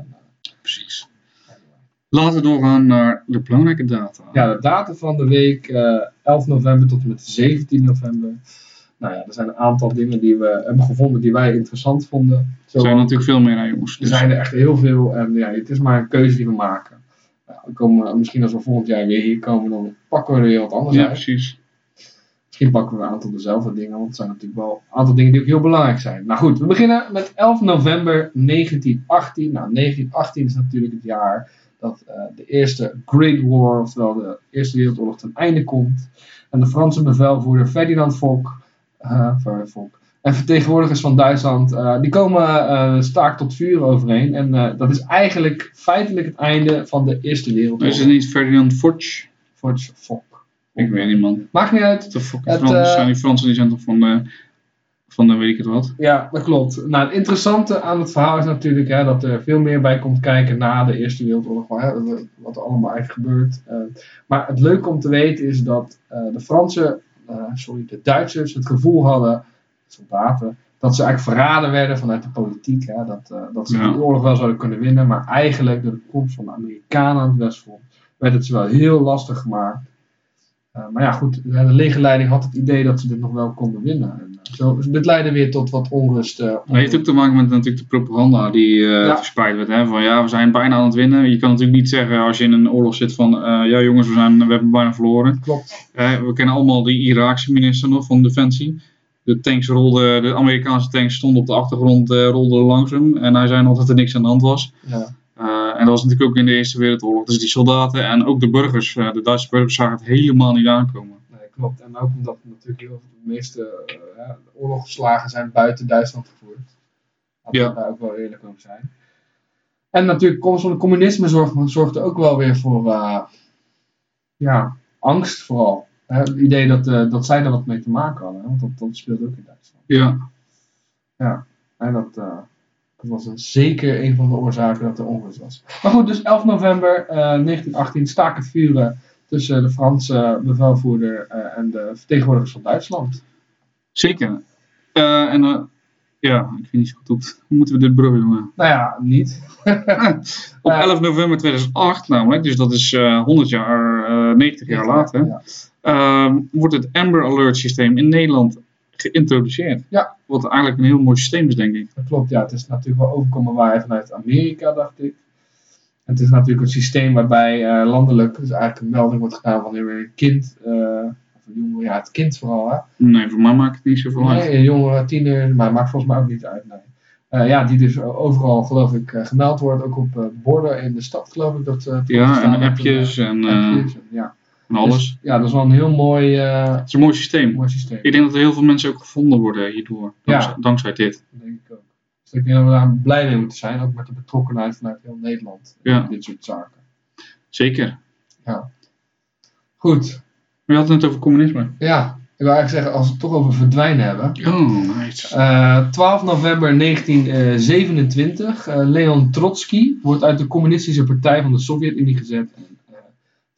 [SPEAKER 1] Precies. Laten we doorgaan naar de belangrijke data.
[SPEAKER 2] Ja, de datum van de week, eh, 11 november tot en met 17 november. Nou ja, er zijn een aantal dingen die we hebben gevonden die wij interessant vonden. Zo,
[SPEAKER 1] er zijn natuurlijk veel meer aan jongens.
[SPEAKER 2] er
[SPEAKER 1] Dus
[SPEAKER 2] zijn er echt heel veel en ja, het is maar een keuze die we maken. Nou, we komen, misschien als we volgend jaar weer hier komen, dan pakken we er weer wat anders
[SPEAKER 1] ja,
[SPEAKER 2] uit.
[SPEAKER 1] precies.
[SPEAKER 2] Misschien pakken we een aantal dezelfde dingen, want het zijn natuurlijk wel een aantal dingen die ook heel belangrijk zijn. Nou goed, we beginnen met 11 november 1918. Nou, 1918 is natuurlijk het jaar dat eh, de eerste Great War, oftewel de Eerste Wereldoorlog, ten einde komt. En de Franse bevelvoerder Ferdinand Foch, eh, Ver- Foch en vertegenwoordigers van Duitsland, eh, die komen eh, staak tot vuur overeen. En eh, dat is eigenlijk feitelijk het einde van de Eerste Wereldoorlog.
[SPEAKER 1] Is het niet Ferdinand Forge?
[SPEAKER 2] Forge Foch.
[SPEAKER 1] Ik weet niet, man.
[SPEAKER 2] Maakt niet uit.
[SPEAKER 1] De fucking
[SPEAKER 2] Het,
[SPEAKER 1] Fransen
[SPEAKER 2] eh,
[SPEAKER 1] zijn die Fransen die zijn toch van de, van de weet ik het wat.
[SPEAKER 2] Ja, dat klopt. Nou, het interessante aan het verhaal is natuurlijk hè, dat er veel meer bij komt kijken na de Eerste Wereldoorlog, maar, hè, wat er allemaal eigenlijk gebeurt. Eh, maar het leuke om te weten is dat eh, de Fransen, eh, sorry, de Duitsers het gevoel hadden, soldaten, dat ze eigenlijk verraden werden vanuit de politiek. Hè, dat, eh, dat ze
[SPEAKER 1] Ja.
[SPEAKER 2] de oorlog wel zouden kunnen winnen, maar eigenlijk door de komst van de Amerikanen aan het Westfront werd het ze wel heel lastig gemaakt. Eh, maar ja, goed, de de legerleiding had het idee dat ze dit nog wel konden winnen. En, eh, zo, dus dit leidde weer tot wat onrust. eh,
[SPEAKER 1] Dat heeft ook te maken met natuurlijk de propaganda die eh,
[SPEAKER 2] Ja.
[SPEAKER 1] verspreid werd. Hè? Van ja, we zijn bijna aan het winnen. Je kan natuurlijk niet zeggen als je in een oorlog zit van eh, ja jongens, we, zijn, we hebben bijna verloren.
[SPEAKER 2] Klopt.
[SPEAKER 1] Hè, we kennen allemaal die Iraakse minister nog van Defensie. De tanks rolden, de Amerikaanse tanks stonden op de achtergrond, eh, rolden langs hem. En hij zei nog dat er niks aan de hand was.
[SPEAKER 2] Ja.
[SPEAKER 1] Eh, en dat was natuurlijk ook in de Eerste Wereldoorlog. Dus die soldaten en ook de burgers, eh, de Duitse burgers, zagen het helemaal niet aankomen.
[SPEAKER 2] Nee, klopt. En ook omdat natuurlijk heel veel de meeste eh, ja, de oorlogsslagen zijn buiten Duitsland gevoerd. Laten
[SPEAKER 1] Ja.
[SPEAKER 2] we daar ook wel eerlijk over zijn. En natuurlijk, komst van het communisme zorg- zorgde ook wel weer voor eh, ja, angst vooral. Hè, het idee dat, eh, dat zij daar wat mee te maken hadden, hè, want dat, dat speelde ook in Duitsland.
[SPEAKER 1] Ja,
[SPEAKER 2] En dat, eh, dat was een- zeker een van de oorzaken dat er onrust was. Maar goed, dus 11 november eh, 1918 staak het vuren tussen de Franse bevelvoerder eh, en de vertegenwoordigers van Duitsland.
[SPEAKER 1] Zeker. Eh, en eh, ja, ik weet niet zo goed hoe, hoe moeten we dit bruggen, jongen.
[SPEAKER 2] Nou ja, niet.
[SPEAKER 1] Op
[SPEAKER 2] Eh.
[SPEAKER 1] 11 november 2008 namelijk, dus dat is eh, 100 jaar, eh 90 jaar later,
[SPEAKER 2] Ja.
[SPEAKER 1] ehm, wordt het Amber Alert systeem in Nederland geïntroduceerd.
[SPEAKER 2] Ja.
[SPEAKER 1] Wat eigenlijk een heel mooi systeem is, denk ik.
[SPEAKER 2] Dat klopt, ja. Het is natuurlijk wel overkomen waar vanuit Amerika, dacht ik. Het is natuurlijk een systeem waarbij eh, landelijk dus eigenlijk een melding wordt gedaan wanneer weer een kind, eh, of een jongere, ja, het kind vooral, hè,
[SPEAKER 1] Nee, voor mij maakt het niet zoveel uit.
[SPEAKER 2] Nee, jongeren, tieners, maar maakt volgens mij ook niet uit. Nee. Eh, ja, die dus overal, geloof ik, eh, gemeld wordt. Ook op eh, borden in de stad, geloof ik. Dat, eh,
[SPEAKER 1] Ja,
[SPEAKER 2] staan
[SPEAKER 1] en
[SPEAKER 2] dat,
[SPEAKER 1] appjes en,
[SPEAKER 2] eh,
[SPEAKER 1] eh,
[SPEAKER 2] appjes en- ja.
[SPEAKER 1] en alles.
[SPEAKER 2] Dus, ja, dat is wel een heel mooi, eh,
[SPEAKER 1] het is een mooi systeem.
[SPEAKER 2] mooi systeem.
[SPEAKER 1] Ik denk dat er heel veel mensen ook gevonden worden hierdoor,
[SPEAKER 2] Ja.
[SPEAKER 1] dankzij, dankzij dit.
[SPEAKER 2] Dat denk ik ook. Dus ik denk dat we daar blij mee moeten zijn. Ook met de betrokkenheid vanuit heel Nederland.
[SPEAKER 1] Ja.
[SPEAKER 2] bij Dit soort zaken.
[SPEAKER 1] Zeker.
[SPEAKER 2] Goed.
[SPEAKER 1] We hadden het over communisme.
[SPEAKER 2] Ja, ik wil eigenlijk zeggen, als we het toch over verdwijnen hebben.
[SPEAKER 1] Oh, nice.
[SPEAKER 2] Eh, 12 november 1927. eh, Leon Trotsky wordt uit de Communistische Partij van de Sovjet-Unie gezet. En, eh, het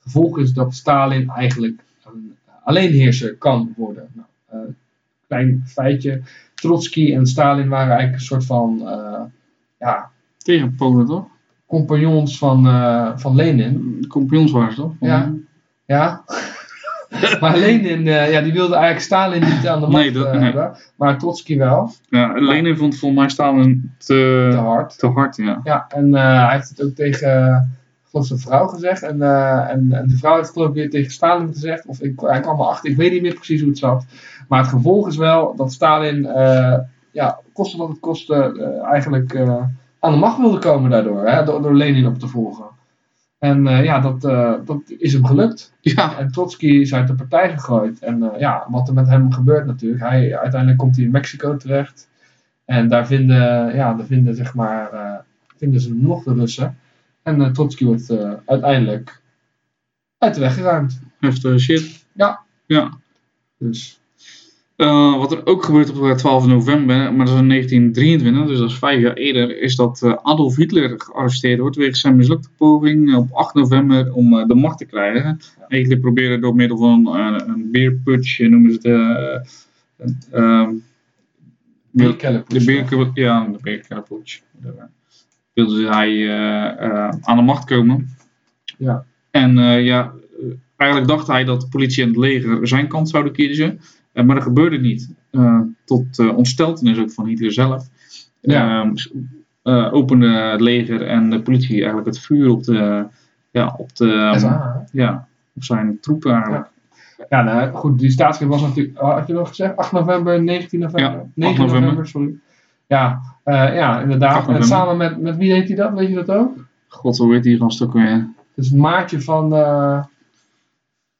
[SPEAKER 2] gevolg is dat Stalin eigenlijk een alleenheerser kan worden. Nou, eh, klein feitje. Trotsky en Stalin waren eigenlijk een soort van eh, ja,
[SPEAKER 1] Tegen Polen, toch?
[SPEAKER 2] compagnons van, eh, van Lenin.
[SPEAKER 1] Compagnons waren ze toch? Van-
[SPEAKER 2] Ja. Ja. maar Lenin, eh, ja, die wilde eigenlijk Stalin niet aan de macht
[SPEAKER 1] Nee, dat-
[SPEAKER 2] eh,
[SPEAKER 1] nee.
[SPEAKER 2] hebben. Maar Trotsky wel,
[SPEAKER 1] ja Lenin vond volgens mij Stalin te,
[SPEAKER 2] te hard.
[SPEAKER 1] te hard, ja.
[SPEAKER 2] Ja, en eh, hij heeft het ook tegen, eh, ik geloof zijn vrouw gezegd. En, eh, en, en de vrouw heeft het geloof ik weer tegen Stalin gezegd. Of ik, hij kwam erachter, ik weet niet meer precies hoe het zat. Maar het gevolg is wel dat Stalin, eh, ja, koste wat het kostte, eh, eigenlijk eh, aan de macht wilde komen daardoor. Hè, door, door Lenin op te volgen. En eh, ja, dat, eh, dat is hem gelukt.
[SPEAKER 1] Ja,
[SPEAKER 2] En Trotsky is uit de partij gegooid. En eh, ja, wat er met hem gebeurt natuurlijk. Hij, uiteindelijk komt hij in Mexico terecht. En daar vinden, ja, daar vinden, zeg maar, eh, vinden ze nog de Russen. En eh, Trotsky wordt eh, uiteindelijk uit de weg geruimd.
[SPEAKER 1] heftige shit.
[SPEAKER 2] Ja.
[SPEAKER 1] Ja.
[SPEAKER 2] Dus
[SPEAKER 1] Eh, wat er ook gebeurt op eh, 12 november, maar dat is in 1923, dus dat is vijf jaar eerder, is dat eh, Adolf Hitler gearresteerd wordt wegens zijn mislukte poging op 8 november om eh, de macht te krijgen. Hitler probeerde door middel van eh, een beerputje, noemen ze het, eh, een, ehm, wil- de
[SPEAKER 2] Bierkellerpoets.
[SPEAKER 1] beerke, ja, de beerkellerputsch. Wilde hij eh, eh, aan de macht komen.
[SPEAKER 2] Ja.
[SPEAKER 1] En eh, ja, eh, eigenlijk dacht hij dat de politie en het leger zijn kant zouden kiezen. Eh, maar dat gebeurde niet. Eh, tot eh ontsteltenis ook van Hitler zelf.
[SPEAKER 2] Ja.
[SPEAKER 1] Ehm, s- eh, opende het leger en de politie eigenlijk het vuur op de... Ja, op de... ehm,
[SPEAKER 2] SA, hè?
[SPEAKER 1] ja, op zijn troepen eigenlijk.
[SPEAKER 2] Ja, nou goed, die staatsgreep was natuurlijk, oh, had je nog gezegd, 8 november, 19 november?
[SPEAKER 1] Ja, 8
[SPEAKER 2] 9
[SPEAKER 1] november.
[SPEAKER 2] november, sorry. Ja, eh, ja
[SPEAKER 1] 8
[SPEAKER 2] inderdaad. En
[SPEAKER 1] november.
[SPEAKER 2] samen met, met wie deed hij dat? Weet je dat ook?
[SPEAKER 1] God, hoe heet die gast ook weer?
[SPEAKER 2] Dus maatje van eh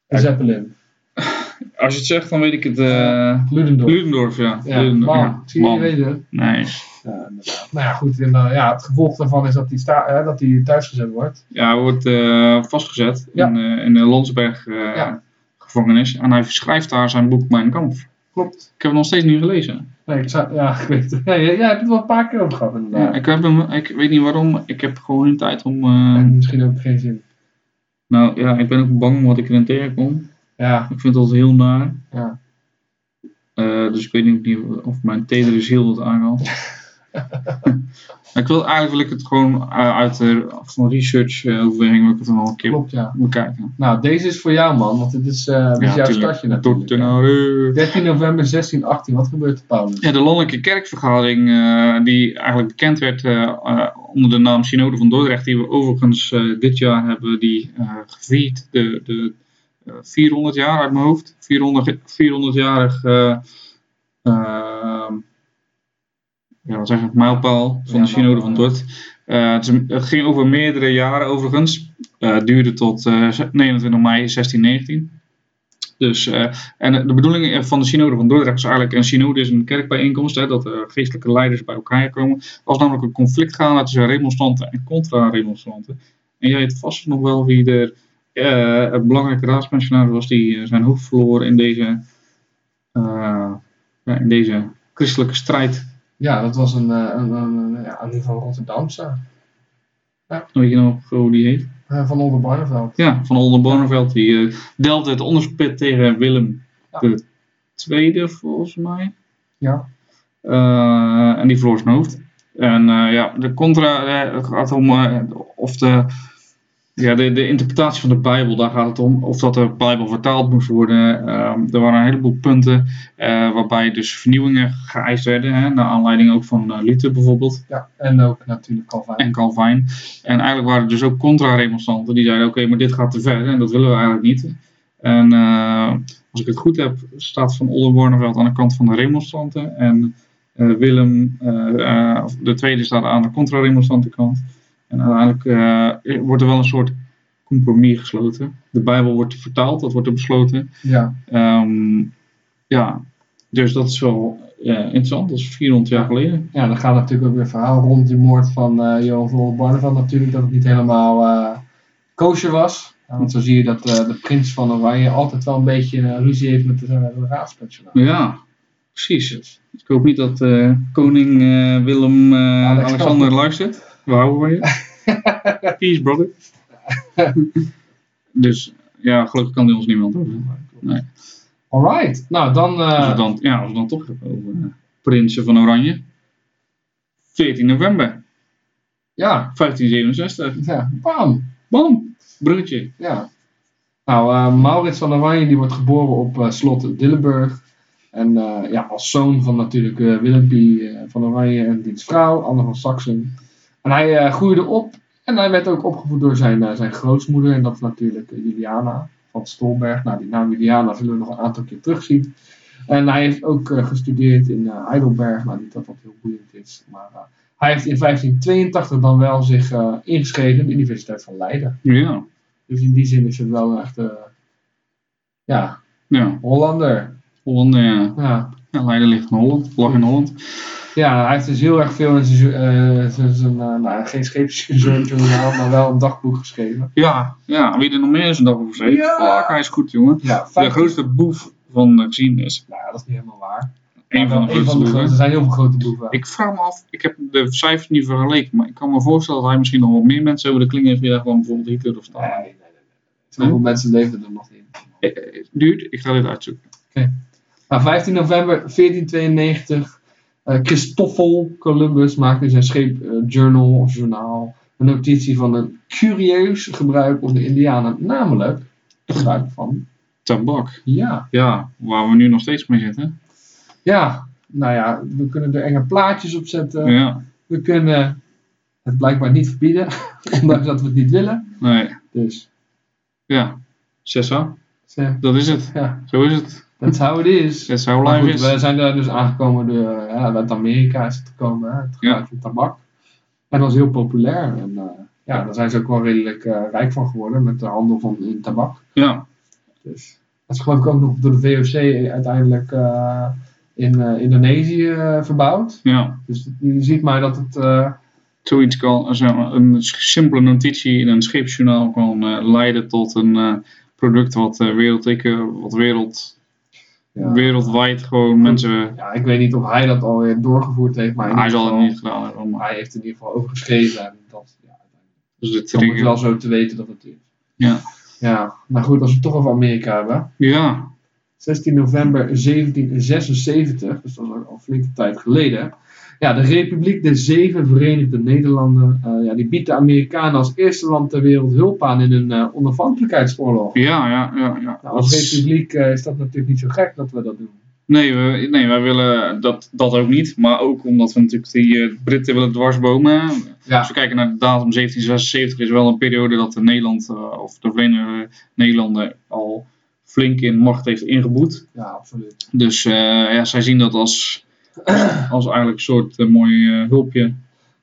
[SPEAKER 2] Zeppelin.
[SPEAKER 1] Als je het zegt, dan weet ik het... eh
[SPEAKER 2] Ludendorff.
[SPEAKER 1] Ludendorff, ja.
[SPEAKER 2] ja,
[SPEAKER 1] Ludendorff,
[SPEAKER 2] man,
[SPEAKER 1] ja.
[SPEAKER 2] zie je,
[SPEAKER 1] Man.
[SPEAKER 2] je weet het.
[SPEAKER 1] Nee.
[SPEAKER 2] Ja, inderdaad. nou ja, goed. En, eh, ja, het gevolg daarvan is dat die, sta eh, dat die thuisgezet wordt.
[SPEAKER 1] Ja, hij wordt eh, vastgezet
[SPEAKER 2] Ja.
[SPEAKER 1] in, eh, in de Landsberg eh,
[SPEAKER 2] Ja.
[SPEAKER 1] gevangenis. En hij schrijft daar zijn boek Mijn Kamp.
[SPEAKER 2] Klopt.
[SPEAKER 1] Ik heb het nog steeds niet gelezen.
[SPEAKER 2] Nee, ik zou, ja, ik weet het. Ja, jij, jij hebt het wel een paar keer over gehad inderdaad.
[SPEAKER 1] Ik, heb hem, ik weet niet waarom. Ik heb gewoon geen tijd om... eh,
[SPEAKER 2] En misschien ook geen zin.
[SPEAKER 1] Nou ja, ik ben ook bang wat ik erin tegenkom.
[SPEAKER 2] Ja,
[SPEAKER 1] Ik vind dat heel naar.
[SPEAKER 2] ja.
[SPEAKER 1] Eh, dus ik weet ook niet of mijn tedere ziel dat aanhaalt. Maar ik wil, eigenlijk wil ik het gewoon eh, uit de van research eh overweging wil ik het dan al een keer
[SPEAKER 2] Klopt, ja.
[SPEAKER 1] bekijken.
[SPEAKER 2] Nou, deze is voor jou, man. Want dit is, eh dit is jouw
[SPEAKER 1] tuurlijk.
[SPEAKER 2] stadje
[SPEAKER 1] Tot
[SPEAKER 2] natuurlijk.
[SPEAKER 1] de nou, eh.
[SPEAKER 2] 13 november 1618. Wat gebeurt er, Paulus?
[SPEAKER 1] Ja, de landelijke kerkvergadering, eh, die eigenlijk bekend werd eh, eh, onder de naam Synode van Dordrecht, die we overigens eh, dit jaar hebben die eh, gevierd, de, de eh, 400 jaar uit mijn hoofd, 400, 400-jarig, eh, eh, ja, wat zeg ik, mijlpaal van
[SPEAKER 2] Ja,
[SPEAKER 1] de Synode van
[SPEAKER 2] mijlpaal,
[SPEAKER 1] Dordrecht. Eh, het, is een- het ging over meerdere jaren overigens, Eh, duurde tot eh, 29 mei 1619. Dus, eh, en de bedoeling van de synode van Dordrecht is eigenlijk, een synode is een kerkbijeenkomst, hè, dat er geestelijke leiders bij elkaar komen. Er was namelijk een conflict gaande tussen remonstranten en contra-remonstranten. En jij weet vast nog wel wie er eh, een belangrijke raadspensionaris was die eh, zijn hoofd verloor in deze, eh, ja, in deze christelijke strijd.
[SPEAKER 2] Ja, dat was een, eh, een, een, een- ja, in ieder geval Rotterdamse.
[SPEAKER 1] Weet je nog hoe die heet?
[SPEAKER 2] eh, van Oldenbarneveld.
[SPEAKER 1] Ja, van Oldenbarneveld. Die eh, delfde het onderspit tegen Willem
[SPEAKER 2] Ja.
[SPEAKER 1] de tweede volgens mij.
[SPEAKER 2] Ja.
[SPEAKER 1] Eh, en die verloor zijn hoofd. En eh, ja, de contra eh, het gaat om eh, of de, ja, de, de interpretatie van de Bijbel, daar gaat het om. Of dat de Bijbel vertaald moest worden. Ehm, er waren een heleboel punten eh, waarbij dus vernieuwingen geëist werden. Hè, naar aanleiding ook van eh, Luther bijvoorbeeld
[SPEAKER 2] ja. En ook natuurlijk Calvijn.
[SPEAKER 1] en Calvin. En eigenlijk waren er dus ook contra-remonstranten die zeiden: oké, maar dit gaat te ver en dat willen we eigenlijk niet. En eh, als ik het goed heb, staat Van Oldenbarneveld aan de kant van de remonstranten en eh, Willem eh, eh, of de tweede staat aan de contra-remonstrantenkant. En uiteindelijk eh, wordt er wel een soort compromis gesloten. De Bijbel wordt vertaald, dat wordt er besloten.
[SPEAKER 2] Ja.
[SPEAKER 1] Ehm, ja, dus dat is wel eh, interessant, dat is 400 jaar geleden.
[SPEAKER 2] Ja, dan gaat natuurlijk ook weer verhaal rond die moord van eh Johan van Oldenbarnevelt natuurlijk, dat het niet helemaal eh koosje was. Ja, want zo zie je dat eh, de prins van Oranje altijd wel een beetje eh, ruzie heeft met de, de raadspensionaris.
[SPEAKER 1] Ja, precies. Ik hoop niet dat eh, koning eh, Willem eh,
[SPEAKER 2] Alexander.
[SPEAKER 1] Alexander luistert. We houden van je. Peace, brother. dus ja, gelukkig kan die ons niemand over. Nee.
[SPEAKER 2] Alright, nou dan, eh,
[SPEAKER 1] Als we dan, ja, als we dan toch hebben over eh, Prinsen van Oranje. 14 november.
[SPEAKER 2] Ja,
[SPEAKER 1] 1567.
[SPEAKER 2] ja. Bam.
[SPEAKER 1] Bam! Bruggetje.
[SPEAKER 2] Ja. Nou, eh, Maurits van Oranje die wordt geboren op eh, slot Dillenburg. En eh, ja, als zoon van natuurlijk eh Willempie eh, van Oranje en diens vrouw, Anne van Saxen. En hij eh, groeide op en hij werd ook opgevoed door zijn, eh, zijn grootmoeder. En dat is natuurlijk eh, Juliana van Stolberg. Nou, die naam Juliana zullen we nog een aantal keer terugzien. En hij heeft ook eh, gestudeerd in eh, Heidelberg. Nou, niet dat dat heel boeiend is. Maar eh, hij heeft in 1582 dan wel zich eh, ingeschreven in de Universiteit van Leiden.
[SPEAKER 1] Ja.
[SPEAKER 2] Dus in die zin is het wel echt, eh, ja,
[SPEAKER 1] Ja.
[SPEAKER 2] Hollander.
[SPEAKER 1] Holland, ja.
[SPEAKER 2] Ja.
[SPEAKER 1] ja. Leiden ligt in Holland. Lag in Holland.
[SPEAKER 2] ja, hij heeft dus heel erg veel in zijn, jo- eh, zijn, zijn, eh, nou, geen scheepsjournaal, maar wel een dagboek geschreven.
[SPEAKER 1] Ja. Ja. Wie er nog meer is een dag over zee.
[SPEAKER 2] Ja.
[SPEAKER 1] Fuck, hij is goed, jongen.
[SPEAKER 2] Ja,
[SPEAKER 1] De grootste boef van de geschiedenis.
[SPEAKER 2] Nou, dat is niet helemaal waar.
[SPEAKER 1] Eén van de
[SPEAKER 2] Eén
[SPEAKER 1] grootste
[SPEAKER 2] grote-
[SPEAKER 1] boeven.
[SPEAKER 2] Er zijn heel veel grote boeven.
[SPEAKER 1] Ik vraag me af, ik heb de cijfers niet vergeleken, maar ik kan me voorstellen dat hij misschien nog wat meer mensen over de kling heeft gejaagd dan bijvoorbeeld Hitler of
[SPEAKER 2] Nee,
[SPEAKER 1] Stalin.
[SPEAKER 2] nee, nee. nee. Zoveel
[SPEAKER 1] Hm?
[SPEAKER 2] mensen leefden er nog in.
[SPEAKER 1] Duurt, ik ga dit uitzoeken.
[SPEAKER 2] Nou, 15 november 1492, eh, Christoffel Columbus maakte in zijn scheep eh, journal of journaal een notitie van een curieus gebruik onder de Indianen, namelijk het gebruik van
[SPEAKER 1] Tabak.
[SPEAKER 2] ja.
[SPEAKER 1] Ja, waar we nu nog steeds mee zitten.
[SPEAKER 2] Ja, nou ja, we kunnen er enge plaatjes op zetten.
[SPEAKER 1] Ja,
[SPEAKER 2] We kunnen het blijkbaar niet verbieden, ondanks dat we het niet willen.
[SPEAKER 1] nee.
[SPEAKER 2] Dus,
[SPEAKER 1] Ja, Sessa,
[SPEAKER 2] eh,
[SPEAKER 1] dat is het.
[SPEAKER 2] ja,
[SPEAKER 1] Zo is het.
[SPEAKER 2] that's how it is.
[SPEAKER 1] That's how
[SPEAKER 2] Maar
[SPEAKER 1] life
[SPEAKER 2] goed, we
[SPEAKER 1] is.
[SPEAKER 2] zijn daar dus aangekomen door, ja, uit Amerika is het gekomen, hè, het gebruik
[SPEAKER 1] Ja.
[SPEAKER 2] van tabak. En dat was heel populair. En eh, ja, daar zijn ze ook wel redelijk eh, rijk van geworden met de handel van in tabak.
[SPEAKER 1] Ja,
[SPEAKER 2] Dus dat is geloof ik ook nog door de VOC uiteindelijk eh, in eh, Indonesië eh, verbouwd.
[SPEAKER 1] ja.
[SPEAKER 2] Dus je ziet maar dat het, eh,
[SPEAKER 1] Zoiets kan, eh, zeg maar, een simpele notitie in een scheepsjournaal kan eh, leiden tot een eh, product wat eh werelddikke, wat wereld,
[SPEAKER 2] ja,
[SPEAKER 1] wereldwijd gewoon mensen...
[SPEAKER 2] ja, ik weet niet of hij dat alweer doorgevoerd heeft, maar in
[SPEAKER 1] Hij
[SPEAKER 2] ieder
[SPEAKER 1] zal het
[SPEAKER 2] geval-
[SPEAKER 1] niet gedaan hebben, maar...
[SPEAKER 2] hij heeft er in ieder geval over geschreven. En dat, ja,
[SPEAKER 1] Dus dit
[SPEAKER 2] dan moet
[SPEAKER 1] ding-
[SPEAKER 2] je wel zo te weten dat het is.
[SPEAKER 1] Ja.
[SPEAKER 2] Ja, nou goed, als we het toch over Amerika hebben.
[SPEAKER 1] Ja,
[SPEAKER 2] 16 november 1776, dus dat is al- al flinke tijd geleden. Ja, de Republiek der Zeven Verenigde Nederlanden, eh, ja, die biedt de Amerikanen als eerste land ter wereld hulp aan in hun eh, onafhankelijkheidsoorlog.
[SPEAKER 1] ja, ja, ja. ja.
[SPEAKER 2] Nou,
[SPEAKER 1] Dat
[SPEAKER 2] als
[SPEAKER 1] is-
[SPEAKER 2] republiek eh, is dat natuurlijk niet zo gek dat we dat doen.
[SPEAKER 1] nee, we, nee, wij willen dat, dat ook niet. Maar ook omdat we natuurlijk die eh, Britten willen dwarsbomen. Als
[SPEAKER 2] Ja,
[SPEAKER 1] we kijken naar de datum 1776 is wel een periode dat de Nederland eh, of de Verenigde Nederlanden al flink in macht heeft ingeboet.
[SPEAKER 2] ja absoluut.
[SPEAKER 1] Dus eh, ja, zij zien dat als, als eigenlijk een soort eh, mooi eh, hulpje.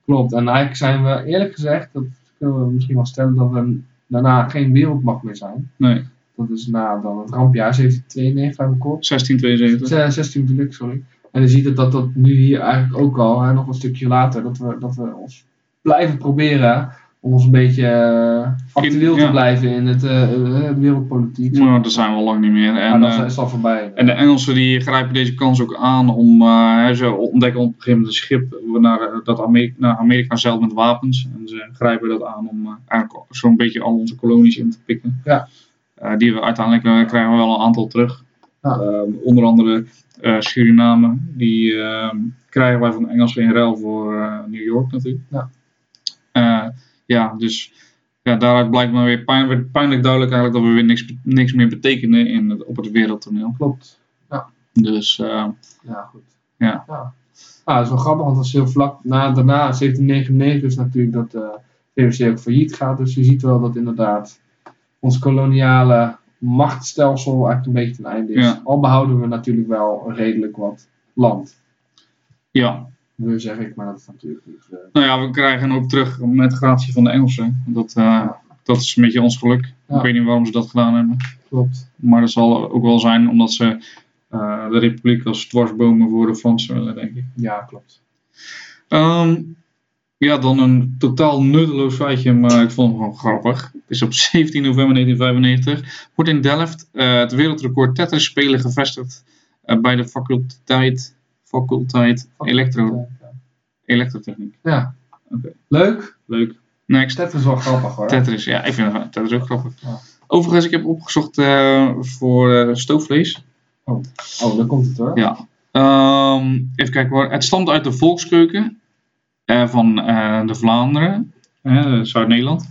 [SPEAKER 2] Klopt, en eigenlijk zijn we eerlijk gezegd, dat kunnen we misschien wel stellen, dat we daarna geen wereldmacht meer zijn.
[SPEAKER 1] Nee,
[SPEAKER 2] Dat is na dan het rampjaar 1792 uit mijn kop.
[SPEAKER 1] 1672.
[SPEAKER 2] 16 bedoel ik, sorry. En je ziet dat, dat dat nu hier eigenlijk ook al, hè, nog een stukje later, dat we, dat we ons blijven proberen om ons een beetje eh, actueel
[SPEAKER 1] In-
[SPEAKER 2] te
[SPEAKER 1] ja.
[SPEAKER 2] blijven in het eh, eh, wereldpolitiek.
[SPEAKER 1] Maar dat zijn we al lang niet meer. En,
[SPEAKER 2] maar dat
[SPEAKER 1] eh,
[SPEAKER 2] is al voorbij.
[SPEAKER 1] En de Engelsen die grijpen deze kans ook aan om, eh, hè, ze ontdekken op een gegeven moment een schip naar, eh, dat Amerika, naar Amerika zeilt met wapens. En ze grijpen dat aan om eh, eigenlijk zo'n beetje al onze kolonies in te pikken.
[SPEAKER 2] Ja.
[SPEAKER 1] Eh, die we uiteindelijk eh, krijgen we wel een aantal terug.
[SPEAKER 2] Ja.
[SPEAKER 1] Eh, onder andere eh, Suriname, die eh, krijgen wij van de Engelsen in ruil voor eh, New York natuurlijk.
[SPEAKER 2] Ja.
[SPEAKER 1] Eh, ja, dus ja, daaruit blijkt maar weer pijn- pijnlijk duidelijk eigenlijk dat we weer niks, niks meer betekenen in het, op het wereldtoneel.
[SPEAKER 2] Klopt.
[SPEAKER 1] Dus eh,
[SPEAKER 2] Ja, goed.
[SPEAKER 1] Ja.
[SPEAKER 2] ja. Ah, dat is wel grappig, want dat is heel vlak na, daarna, 1799, is natuurlijk dat eh, de VOC ook failliet gaat. Dus je ziet wel dat inderdaad ons koloniale machtsstelsel eigenlijk een beetje ten einde is.
[SPEAKER 1] Ja.
[SPEAKER 2] Al behouden we natuurlijk wel redelijk wat land.
[SPEAKER 1] ja,
[SPEAKER 2] Nu zeg ik, maar dat is natuurlijk niet. eh,
[SPEAKER 1] nou ja, we krijgen ook terug met gratie van de Engelsen. Dat, eh, dat is een beetje ons geluk.
[SPEAKER 2] Ja.
[SPEAKER 1] Ik weet niet waarom ze dat gedaan hebben.
[SPEAKER 2] klopt.
[SPEAKER 1] Maar dat zal ook wel zijn omdat ze eh, de Republiek als dwarsbomen voor de Fransen willen, denk ik.
[SPEAKER 2] Ja, klopt.
[SPEAKER 1] Ehm, ja, dan een totaal nutteloos feitje, maar ik vond hem gewoon grappig. Het is op 17 november 1995. Wordt in Delft eh, het wereldrecord Tetris spelen gevestigd eh, bij de faculteit, faculteit elektro, elektrotechniek.
[SPEAKER 2] Ja.
[SPEAKER 1] Oké.
[SPEAKER 2] Leuk.
[SPEAKER 1] Leuk. Next.
[SPEAKER 2] Tetris is wel grappig hoor.
[SPEAKER 1] Tetris, ja, ik vind het- Tetris ook grappig.
[SPEAKER 2] Ja.
[SPEAKER 1] Overigens, ik heb opgezocht eh, voor eh, stoofvlees.
[SPEAKER 2] Oh, daar komt het hoor.
[SPEAKER 1] Ja. Ehm, even kijken hoor. Het stamt uit de volkskeuken. eh, van eh, de Vlaanderen, eh, Zuid-Nederland.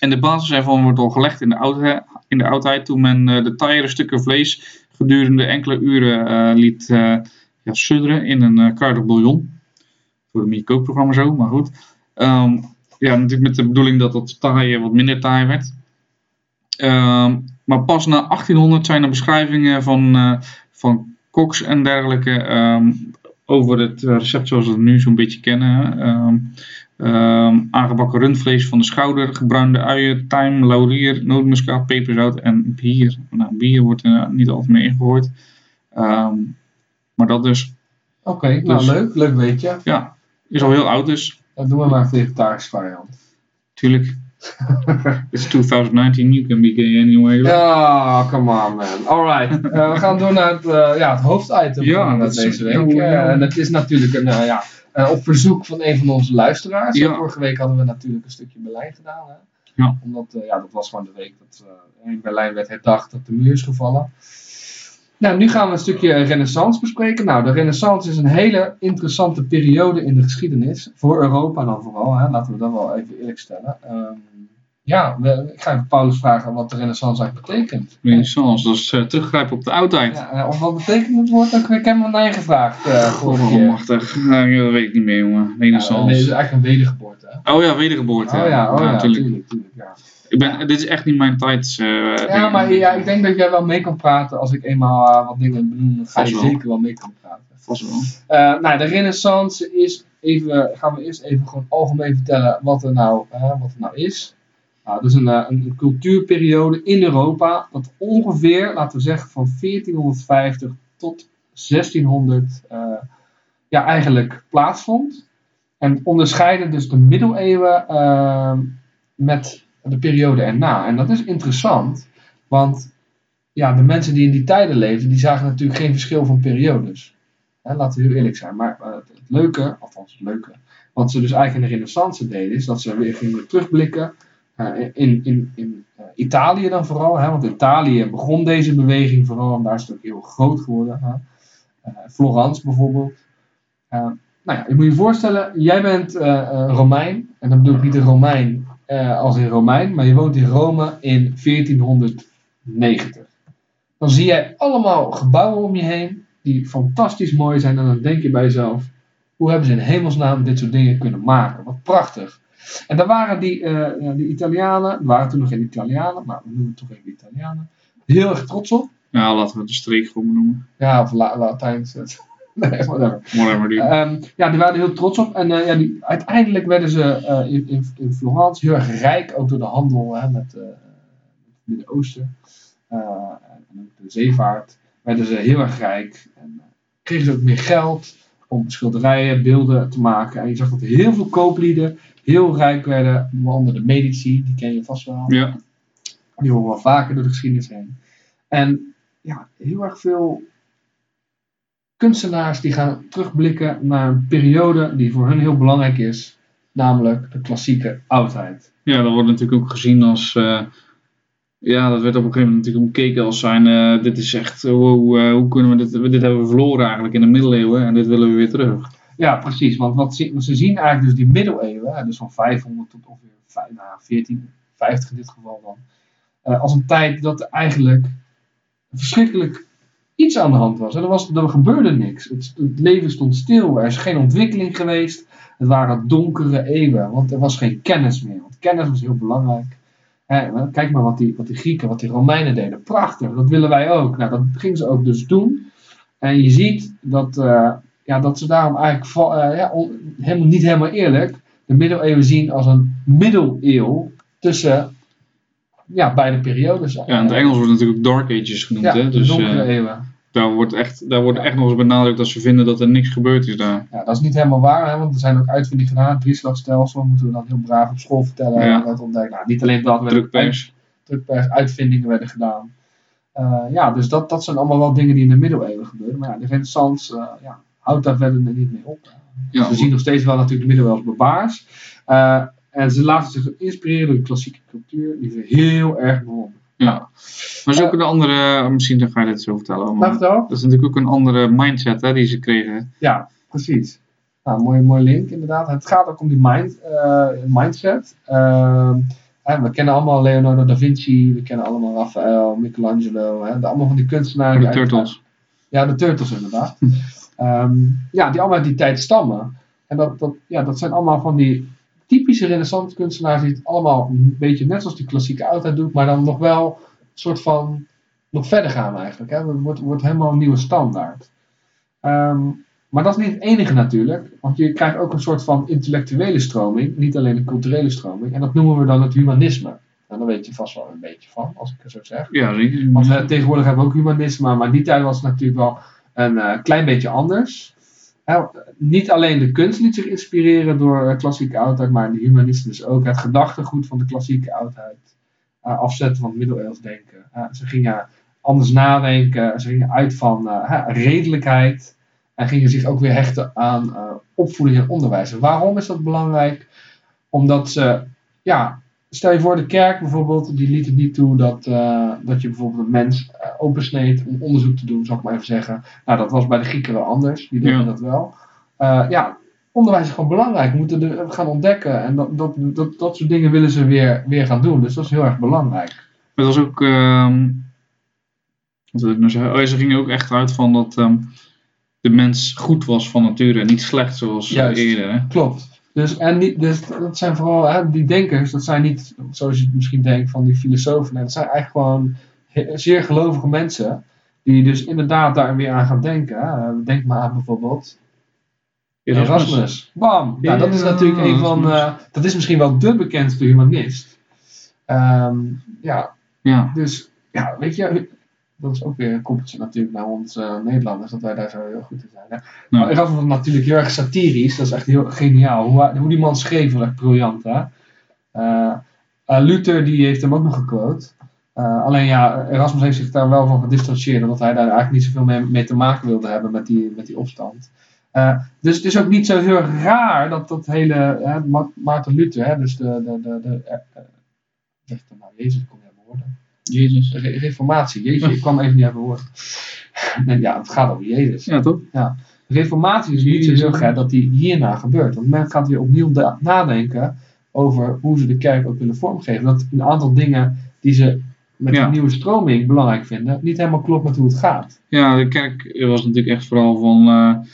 [SPEAKER 1] En de basis ervan wordt al gelegd in de, oudhe- in de oudheid toen men eh, de taaiere stukken vlees gedurende enkele uren eh, liet eh ja, sudderen in een eh kruidig bouillon. Voor een kookprogramma zo, maar goed. Ehm, ja, natuurlijk met de bedoeling dat dat taaien wat minder taai werd. Ehm, maar pas na 1800 zijn er beschrijvingen van, eh, van koks en dergelijke ehm, over het eh, recept zoals we het nu zo'n beetje kennen. Ehm, ehm, aangebakken rundvlees van de schouder, gebruinde uien, tijm, laurier, nootmuskaat, peperzout en bier. Nou, bier wordt er niet altijd mee ingegooid. Ehm, maar dat dus,
[SPEAKER 2] Oké, nou
[SPEAKER 1] Dus-
[SPEAKER 2] leuk. Leuk weet je.
[SPEAKER 1] ja, is al heel oud dus.
[SPEAKER 2] Dan doen we maar een vegetarische variant.
[SPEAKER 1] Tuurlijk. It's 2019, you can be gay anyway.
[SPEAKER 2] Ja, come on man. Alright, Eh, we gaan door naar het, eh, ja, het hoofditem
[SPEAKER 1] Ja,
[SPEAKER 2] van eh,
[SPEAKER 1] dat is-
[SPEAKER 2] deze week.
[SPEAKER 1] ja, hoe-
[SPEAKER 2] Eh,
[SPEAKER 1] ja.
[SPEAKER 2] en dat is natuurlijk een, eh, ja, eh, op verzoek van een van onze luisteraars.
[SPEAKER 1] Ja.
[SPEAKER 2] Vorige week hadden we natuurlijk een stukje Berlijn gedaan. Hè?
[SPEAKER 1] Ja.
[SPEAKER 2] Omdat, eh, ja, dat was maar de week dat eh, in Berlijn werd herdacht dat de muur is gevallen. Nou, nu gaan we een stukje renaissance bespreken. Nou, de renaissance is een hele interessante periode in de geschiedenis. Voor Europa dan vooral, hè? laten we dat wel even eerlijk stellen. Ehm, ja, we- ik ga even Paulus vragen wat de renaissance eigenlijk betekent.
[SPEAKER 1] Renaissance, dat is eh, teruggrijpen op de oudheid.
[SPEAKER 2] Ja, eh, of wat betekent het woord ook? weer? Ik heb hem aan je gevraagd. eh vorige keer.
[SPEAKER 1] Godmachtig. Nou, ja, dat weet ik niet meer, jongen.
[SPEAKER 2] Ja, nee,
[SPEAKER 1] Renaissance.
[SPEAKER 2] het is eigenlijk een wedergeboorte. Hè?
[SPEAKER 1] Oh ja, wedergeboorte.
[SPEAKER 2] Oh ja, oh ja,
[SPEAKER 1] natuurlijk.
[SPEAKER 2] tuurlijk, tuurlijk, ja.
[SPEAKER 1] Ik ben, dit is echt niet mijn tijd. eh,
[SPEAKER 2] Ja,
[SPEAKER 1] dingen.
[SPEAKER 2] maar ja, ik denk dat jij wel mee kan praten. Als ik eenmaal eh, wat dingen benoem, dan ga
[SPEAKER 1] Vast
[SPEAKER 2] je
[SPEAKER 1] wel.
[SPEAKER 2] zeker wel mee kunnen praten.
[SPEAKER 1] Vast wel.
[SPEAKER 2] Eh, nou, de renaissance is even, gaan we eerst even gewoon algemeen vertellen wat er nou, eh, wat er nou is. Nou, het is een, eh, een cultuurperiode in Europa dat ongeveer, laten we zeggen, van 1450 tot 1600 eh, ja, eigenlijk plaatsvond. En onderscheiden dus de middeleeuwen eh, met de periode erna. En dat is interessant, want ja, de mensen die in die tijden leefden, die zagen natuurlijk geen verschil van periodes. Hè, laten we heel eerlijk zijn. Maar eh, het, het leuke, althans het leuke, wat ze dus eigenlijk in de renaissance deden, is dat ze weer gingen terugblikken. eh, in in, in eh, Italië dan vooral, hè, want Italië begon deze beweging vooral en daar is het ook heel groot geworden. Hè. Eh, Florence bijvoorbeeld. Eh, nou ja, je moet je voorstellen, jij bent eh, eh, Romein, en dan bedoel ik niet een Romein eh, als in Romein, maar je woont in Rome in 1490. Dan zie jij allemaal gebouwen om je heen, die fantastisch mooi zijn. En dan denk je bij jezelf, hoe hebben ze in hemelsnaam dit soort dingen kunnen maken? Wat prachtig. En daar waren die, eh, ja, die Italianen, er waren toen nog geen Italianen, maar we noemen het toch even Italianen, heel erg trots op.
[SPEAKER 1] Nou, laten we het een streekgroep noemen.
[SPEAKER 2] Ja, of La Latijns. eh, nee, whatever.
[SPEAKER 1] Whatever, dude.
[SPEAKER 2] Ehm, ja, die waren er heel trots op. En eh, ja, die, uiteindelijk werden ze eh, in, in, in Florence heel erg rijk, ook door de handel hè, met eh, met het Midden-Oosten Eh, en ook de zeevaart. Werden ze heel erg rijk en eh, kregen ze ook meer geld om schilderijen, beelden te maken. En je zag dat heel veel kooplieden heel rijk werden, onder andere de Medici, die ken je vast wel.
[SPEAKER 1] ja.
[SPEAKER 2] Die horen wel vaker door de geschiedenis heen. En ja, heel erg veel kunstenaars die gaan terugblikken naar een periode die voor hun heel belangrijk is. Namelijk de klassieke oudheid.
[SPEAKER 1] ja, dat wordt natuurlijk ook gezien als... eh, ja, dat werd op een gegeven moment natuurlijk bekeken als zijn... eh, dit is echt, eh, wow, eh, hoe kunnen we dit... Dit hebben we verloren eigenlijk in de middeleeuwen en dit willen we weer terug.
[SPEAKER 2] Ja, precies. Want wat ze, ze zien eigenlijk dus die middeleeuwen, hè, dus van 500 tot ongeveer vij- nou, 1450 in dit geval dan. eh, als een tijd dat er eigenlijk verschrikkelijk iets aan de hand was. En er, was, er gebeurde niks. Het, het leven stond stil. Er is geen ontwikkeling geweest. Het waren donkere eeuwen. Want er was geen kennis meer. Want kennis was heel belangrijk. Hè, nou, kijk maar wat die, wat die Grieken, wat die Romeinen deden. Prachtig. Dat willen wij ook. Nou, dat gingen ze ook dus doen. En je ziet dat, eh, ja, dat ze daarom eigenlijk va- eh, ja, on- helemaal, niet helemaal eerlijk de middeleeuwen zien als een middeleeuw tussen ja, beide periodes.
[SPEAKER 1] Ja, in het Engels wordt het natuurlijk Dark Ages genoemd,
[SPEAKER 2] Ja,
[SPEAKER 1] hè.
[SPEAKER 2] de
[SPEAKER 1] Dus eh,
[SPEAKER 2] donkere eeuwen.
[SPEAKER 1] daar wordt echt, daar wordt echt nog eens benadrukt dat ze vinden dat er niks gebeurd is daar.
[SPEAKER 2] Ja, dat is niet helemaal waar, hè, want er zijn ook uitvindingen gedaan. Het drieslagstelsel moeten we dan heel braaf op school vertellen.
[SPEAKER 1] Ja.
[SPEAKER 2] En dat ontdekken. Nou, niet alleen dat, werden ook uit-
[SPEAKER 1] Drukpers.
[SPEAKER 2] drukpers, uitvindingen werden gedaan. Eh, ja, dus dat, dat zijn allemaal wel dingen die in de middeleeuwen gebeuren. Maar ja, de renaissance eh, ja, houdt daar verder niet mee op.
[SPEAKER 1] Ja,
[SPEAKER 2] we zien nog steeds wel natuurlijk de middeleeuwen als barbaars. Eh, en ze laten zich inspireren door de klassieke cultuur, die we heel erg bewonderen.
[SPEAKER 1] Ja. Nou, Maar
[SPEAKER 2] Eh,
[SPEAKER 1] zo ook een andere, misschien dan ga je dit zo vertellen.
[SPEAKER 2] Maar
[SPEAKER 1] Maar
[SPEAKER 2] vertel.
[SPEAKER 1] dat is natuurlijk ook een andere mindset hè, die ze kregen.
[SPEAKER 2] Ja, precies. Nou, mooi, mooi link inderdaad. Het gaat ook om die mind, eh, mindset. Ehm, hè, we kennen allemaal Leonardo da Vinci, we kennen allemaal Raphaël, Michelangelo, hè, de, allemaal van die kunstenaars.
[SPEAKER 1] De
[SPEAKER 2] die uit-
[SPEAKER 1] Turtles.
[SPEAKER 2] Ja, de Turtles inderdaad. Ehm, ja, die allemaal uit die tijd stammen. En dat, dat, ja, dat zijn allemaal van die typische renaissance kunstenaars die het allemaal een beetje net zoals die klassieke oudheid doet, maar dan nog wel een soort van nog verder gaan eigenlijk. Hè. Het wordt, wordt helemaal een nieuwe standaard. Ehm, maar dat is niet het enige natuurlijk, want je krijgt ook een soort van intellectuele stroming, niet alleen een culturele stroming, en dat noemen we dan het humanisme. En daar weet je vast wel een beetje van, als ik het zo zeg.
[SPEAKER 1] Ja, zeker.
[SPEAKER 2] Want we, tegenwoordig hebben we ook humanisme, maar die tijd was het natuurlijk wel een eh, klein beetje anders. Hè, niet alleen de kunst liet zich inspireren door eh, klassieke oudheid, maar de humanisten dus ook. Het gedachtegoed van de klassieke oudheid. eh, afzetten van het middeleeuws denken. Eh, ze gingen anders nadenken. Ze gingen uit van eh, hè, redelijkheid. En gingen zich ook weer hechten aan eh, opvoeding en onderwijs. En waarom is dat belangrijk? Omdat ze, ja, stel je voor de kerk bijvoorbeeld, die liet het niet toe dat, eh, dat je bijvoorbeeld een mens eh, opensneed om onderzoek te doen, zal ik maar even zeggen. Nou, dat was bij de Grieken wel anders, die deden
[SPEAKER 1] Ja.
[SPEAKER 2] dat wel. Eh, ja, onderwijs is gewoon belangrijk, we moeten er- gaan ontdekken en dat, dat, dat, dat soort dingen willen ze weer, weer gaan doen, dus dat is heel erg belangrijk.
[SPEAKER 1] Maar dat was ook. ehm, wat wil ik nou zeggen? Oh, ze gingen ook echt uit van dat ehm, de mens goed was van nature en niet slecht zoals eh,
[SPEAKER 2] Juist.
[SPEAKER 1] eerder. Hè?
[SPEAKER 2] Klopt. Dus, en niet, dus dat zijn vooral hè, die denkers, dat zijn niet, zoals je het misschien denkt, van die filosofen. Nee, dat zijn eigenlijk gewoon he- zeer gelovige mensen, die dus inderdaad daar weer aan gaan denken. hè. Denk maar aan bijvoorbeeld Erasmus. Bam! Nou, dat is
[SPEAKER 1] Ja,
[SPEAKER 2] natuurlijk een van.
[SPEAKER 1] Erasmus.
[SPEAKER 2] eh, dat is misschien wel de bekendste humanist. Ehm, ja,
[SPEAKER 1] Ja,
[SPEAKER 2] dus ja, weet je. Dat is ook weer een koppeltje natuurlijk naar ons eh, Nederlanders, dat wij daar zo heel goed in zijn. Hè? Maar
[SPEAKER 1] nou,
[SPEAKER 2] Erasmus was natuurlijk heel erg satirisch, dat is echt heel geniaal. Hoe, hij- hoe die man schreef, was echt briljant. Hè? Eh, eh, Luther die heeft hem ook nog gequote. Eh, alleen ja, Erasmus heeft zich daar wel van gedistanceerd, omdat hij daar eigenlijk niet zoveel mee, mee te maken wilde hebben met die, met die opstand. Eh, dus het is ook niet zo heel erg raar dat dat hele hè, Ma- Maarten Luther, hè, dus de. de, de, de eh, eh, zeg het dan nou, Jezus, ik kom niet aan mijn woorden.
[SPEAKER 1] Jezus.
[SPEAKER 2] Re- reformatie, jeetje, ik kwam even niet aan mijn woorden. Nee, ja, het gaat over Jezus.
[SPEAKER 1] Ja, toch?
[SPEAKER 2] Reformatie is niet zo heel gek dat die hierna gebeurt. Want men gaat weer opnieuw da- nadenken over hoe ze de kerk ook willen vormgeven. Dat een aantal dingen die ze met
[SPEAKER 1] Ja.
[SPEAKER 2] de nieuwe stroming belangrijk vinden, niet helemaal klopt met hoe het gaat.
[SPEAKER 1] Ja, de kerk was natuurlijk echt vooral van. eh,